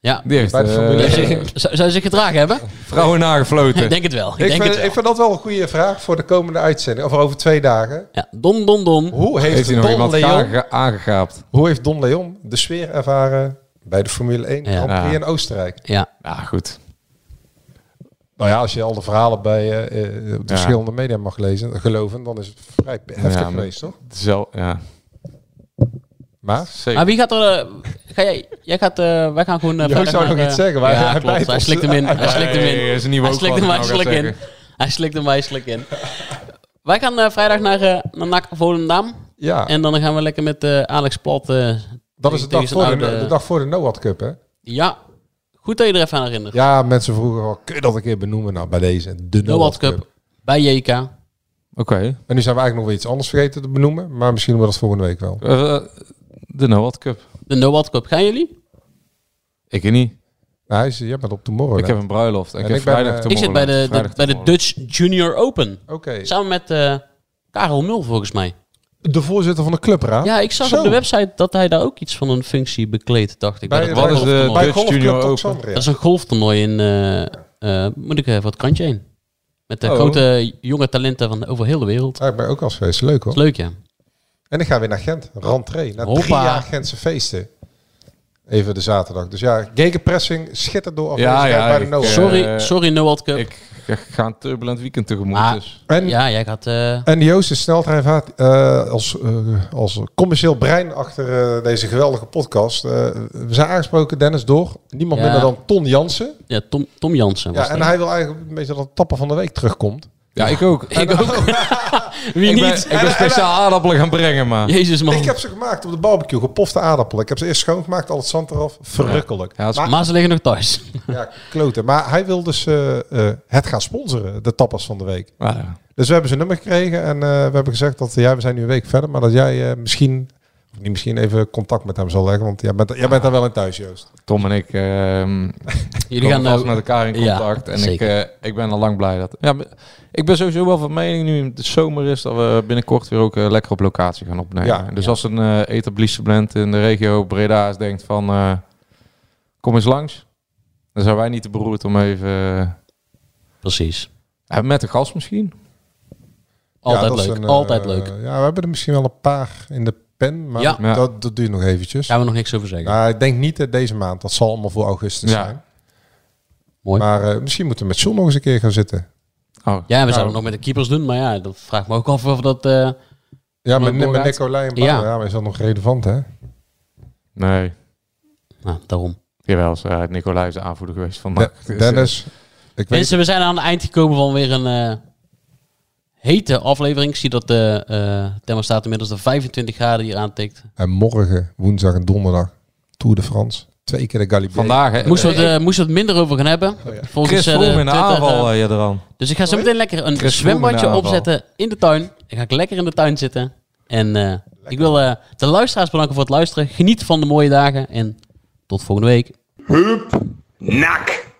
Speaker 6: Ja.
Speaker 8: Die heeft
Speaker 7: Bij de Formule
Speaker 8: eh,
Speaker 6: Zou- Zou ze zich gedragen hebben?
Speaker 8: vrouwen nagefloten.
Speaker 6: Ik denk het wel. Ik
Speaker 7: Ik,
Speaker 6: denk
Speaker 7: vind,
Speaker 6: het wel.
Speaker 7: ik vind dat wel een goede vraag voor de komende uitzending. Of over twee dagen.
Speaker 6: Ja, dom, dom, dom.
Speaker 7: Hoe heeft,
Speaker 8: Heeft hij nog
Speaker 7: Don,
Speaker 8: iemand
Speaker 7: Leon,
Speaker 8: aange- aangegaapt?
Speaker 7: hoe heeft Don Leon de sfeer ervaren bij de Formule 1
Speaker 6: Ja.
Speaker 7: Grand Prix
Speaker 8: Ja.
Speaker 7: in Oostenrijk?
Speaker 6: Ja,
Speaker 8: Ja, goed.
Speaker 7: Nou ja, als je al de verhalen bij eh, eh, de
Speaker 8: Ja.
Speaker 7: verschillende media mag lezen, geloven, dan is het vrij heftig
Speaker 8: maar-
Speaker 7: geweest, toch?
Speaker 8: Het is wel- ja.
Speaker 7: Maar
Speaker 6: maar
Speaker 8: Zeker.
Speaker 6: wie gaat er... eh, Ga jij, jij gaat, eh, wij gaan gewoon... eh,
Speaker 7: Ja,
Speaker 6: verder
Speaker 7: ik zou
Speaker 6: naar,
Speaker 7: nog
Speaker 6: eh,
Speaker 7: iets zeggen, maar
Speaker 6: ja,
Speaker 7: hij
Speaker 6: klopt.
Speaker 7: bijt
Speaker 6: Hij
Speaker 7: ons.
Speaker 6: slikt hem in. Hij slikt hem
Speaker 8: Nee,
Speaker 6: in.
Speaker 8: is niet
Speaker 6: Hij
Speaker 8: woke
Speaker 6: slikt
Speaker 8: wat
Speaker 6: hem,
Speaker 8: ik
Speaker 6: hij
Speaker 8: nou ga
Speaker 6: slikt in.
Speaker 8: zeggen.
Speaker 6: Hij slikt hem, hij slikt in. Wij gaan eh, vrijdag naar, eh, naar NAC Volendam.
Speaker 7: ja,
Speaker 6: En dan gaan we lekker met eh, Alex Plat. eh,
Speaker 7: dat is de
Speaker 6: tegen
Speaker 7: dag,
Speaker 6: zijn
Speaker 7: voor
Speaker 6: oude-
Speaker 7: de, de dag voor de Noad Cup, hè?
Speaker 6: Ja, goed dat je er even aan herinnert.
Speaker 7: Ja, mensen vroegen al, kun je dat een keer benoemen? Nou, bij deze, de
Speaker 6: de World
Speaker 7: Noad
Speaker 6: Cup
Speaker 7: Cup.
Speaker 6: bij JK. Ja,
Speaker 8: Oké.
Speaker 7: En nu zijn we eigenlijk nog weer iets anders vergeten te benoemen, maar misschien doen we dat volgende week wel.
Speaker 8: Eh, de Noord Cup.
Speaker 6: De No World Cup. Gaan jullie?
Speaker 8: Ik niet.
Speaker 7: Nou, hij is, jij bent op Tomorrow.
Speaker 8: Ik heb een bruiloft. en ik
Speaker 7: En
Speaker 8: heb
Speaker 7: ik ben,
Speaker 8: vrijdag
Speaker 7: eh,
Speaker 8: te
Speaker 6: Ik zit bij de, de,
Speaker 8: Vrijdag
Speaker 6: bij de
Speaker 8: tomorrow.
Speaker 6: Dutch Junior Open.
Speaker 7: Oké.
Speaker 6: Samen met eh, Karel Mul volgens mij.
Speaker 7: De voorzitter van de clubraad?
Speaker 6: Ja, ik zag
Speaker 7: Oh, Zo.
Speaker 6: op de website dat hij daar ook iets van een functie bekleedt, dacht ik.
Speaker 7: Bij
Speaker 6: dat
Speaker 7: de-
Speaker 8: Wat is
Speaker 6: golftoernooi.
Speaker 8: de
Speaker 7: Bij
Speaker 8: Dutch Junior
Speaker 7: golfclub
Speaker 8: Open.
Speaker 6: Dat
Speaker 7: Alexandria.
Speaker 6: is een golftoernooi in... eh, eh, moet ik even het kantje heen. Met de
Speaker 8: Oh.
Speaker 6: grote jonge talenten van over heel de wereld.
Speaker 7: Ja, ik ben ook al eens geweest. Leuk hoor.
Speaker 6: Dat is leuk, ja.
Speaker 7: En ik ga weer naar Gent. Rentree. Na drie
Speaker 6: Hoppa.
Speaker 7: jaar Gentse feesten. Even de zaterdag. Dus ja, gegenpressing schittert door
Speaker 8: Ja,
Speaker 7: afwezigheid
Speaker 8: ja,
Speaker 7: bij de
Speaker 8: ik,
Speaker 7: Noah.
Speaker 8: eh,
Speaker 6: Sorry,
Speaker 8: Eh,
Speaker 6: sorry No World Cup.
Speaker 8: Ik ik ga een turbulent weekend tegemoet.
Speaker 6: Ah.
Speaker 8: Dus.
Speaker 7: en,
Speaker 6: ja, jij gaat... eh,
Speaker 7: en Joost is sneltreinvaart eh, als, eh, als commercieel brein achter eh, deze geweldige podcast. Eh, we zijn aangesproken, Dennis, door niemand
Speaker 6: Ja.
Speaker 7: minder dan Ton Jansen.
Speaker 6: ja, Tom, Tom Jansen was
Speaker 7: Ja, en hij wil eigenlijk een beetje dat het tappen van de week terugkomt.
Speaker 8: Ja, ik ook. Ik,
Speaker 6: Ik ook. Wie
Speaker 8: ben,
Speaker 6: niet?
Speaker 8: ik ben speciaal aardappelen gaan brengen, maar...
Speaker 6: Jezus man.
Speaker 7: Ik heb ze gemaakt op de barbecue, gepofte aardappelen. Ik heb ze eerst schoongemaakt, al het zand eraf. Verrukkelijk.
Speaker 8: Ja, dat is-
Speaker 7: maar,
Speaker 6: Maar ze liggen nog thuis.
Speaker 7: ja, kloten. Maar hij wil dus eh, eh, het gaan sponsoren, de tapas van de week.
Speaker 8: Maar, eh, ja.
Speaker 7: Dus we hebben zijn nummer gekregen en eh, we hebben gezegd dat ja, we zijn nu een week verder, maar dat jij eh, misschien, of niet misschien even contact met hem zal leggen, want jij bent, jij bent daar wel in thuis, Joost.
Speaker 8: Tom en ik ehm
Speaker 6: Jullie
Speaker 8: komen
Speaker 6: gaan
Speaker 8: vast met
Speaker 6: nou-
Speaker 8: elkaar in
Speaker 6: Ja,
Speaker 8: contact. en ik,
Speaker 6: zeker.
Speaker 8: eh, ik ben al lang blij dat... Ja, maar ik ben sowieso wel van mening nu het zomer is... dat we binnenkort weer ook eh, lekker op locatie gaan opnemen.
Speaker 7: Ja.
Speaker 8: dus als een eh etablissement in de regio Breda is denkt van... eh, kom eens langs. Dan zijn wij niet te beroerd om even... eh,
Speaker 6: Precies.
Speaker 8: ja, met een gast misschien.
Speaker 6: Altijd
Speaker 7: Ja, dat is
Speaker 6: leuk.
Speaker 7: een, eh,
Speaker 6: Altijd leuk.
Speaker 7: Ja, we hebben er misschien wel een paar in de pen, maar
Speaker 6: Ja.
Speaker 8: Ja.
Speaker 7: Dat, dat duurt nog eventjes.
Speaker 6: Daar gaan we nog niks over zeggen.
Speaker 7: Nou, ik denk niet dat deze maand. Dat zal allemaal voor augustus
Speaker 8: Ja.
Speaker 7: zijn.
Speaker 6: Mooi.
Speaker 7: Maar eh, misschien moeten we met John nog eens een keer gaan zitten.
Speaker 8: Oh.
Speaker 6: ja, we zouden
Speaker 7: nou.
Speaker 6: het nog met de keepers doen, maar ja, dat vraagt me ook af of dat... eh,
Speaker 7: Ja, met,
Speaker 6: Nicolai
Speaker 7: met
Speaker 6: en
Speaker 7: Nicolai en Bauer.
Speaker 6: Ja.
Speaker 7: Ja. maar is dat nog relevant, hè?
Speaker 8: Nee.
Speaker 6: nou, daarom.
Speaker 8: Jawel, eh, Nicolai is de aanvoerder geweest van
Speaker 7: De-
Speaker 8: NAC. Dus, eh,
Speaker 7: Dennis, ik weet
Speaker 6: Mensen, we zijn aan het eind gekomen van weer een eh, hete aflevering. Ik zie dat de eh thermostaat inmiddels de 25 graden hier aantikt.
Speaker 7: En morgen, woensdag en donderdag, Tour de France. Twee keer de Galibier.
Speaker 8: Vandaag, hè?
Speaker 6: Moesten we, het, eh, moesten we het minder over gaan hebben. Volgens
Speaker 8: Oh Chris
Speaker 6: eh, de
Speaker 8: Froome in de
Speaker 6: Twitter,
Speaker 8: aanval,
Speaker 6: eh,
Speaker 8: eh, Jadran.
Speaker 6: dus ik ga zo meteen lekker een
Speaker 8: Chris Froome in
Speaker 6: zwembadje
Speaker 8: de aanval.
Speaker 6: opzetten in de tuin. Dan ga ik lekker in de tuin zitten. En eh, ik wil eh, de luisteraars bedanken voor het luisteren. Geniet van de mooie dagen en tot volgende week.
Speaker 3: Nak.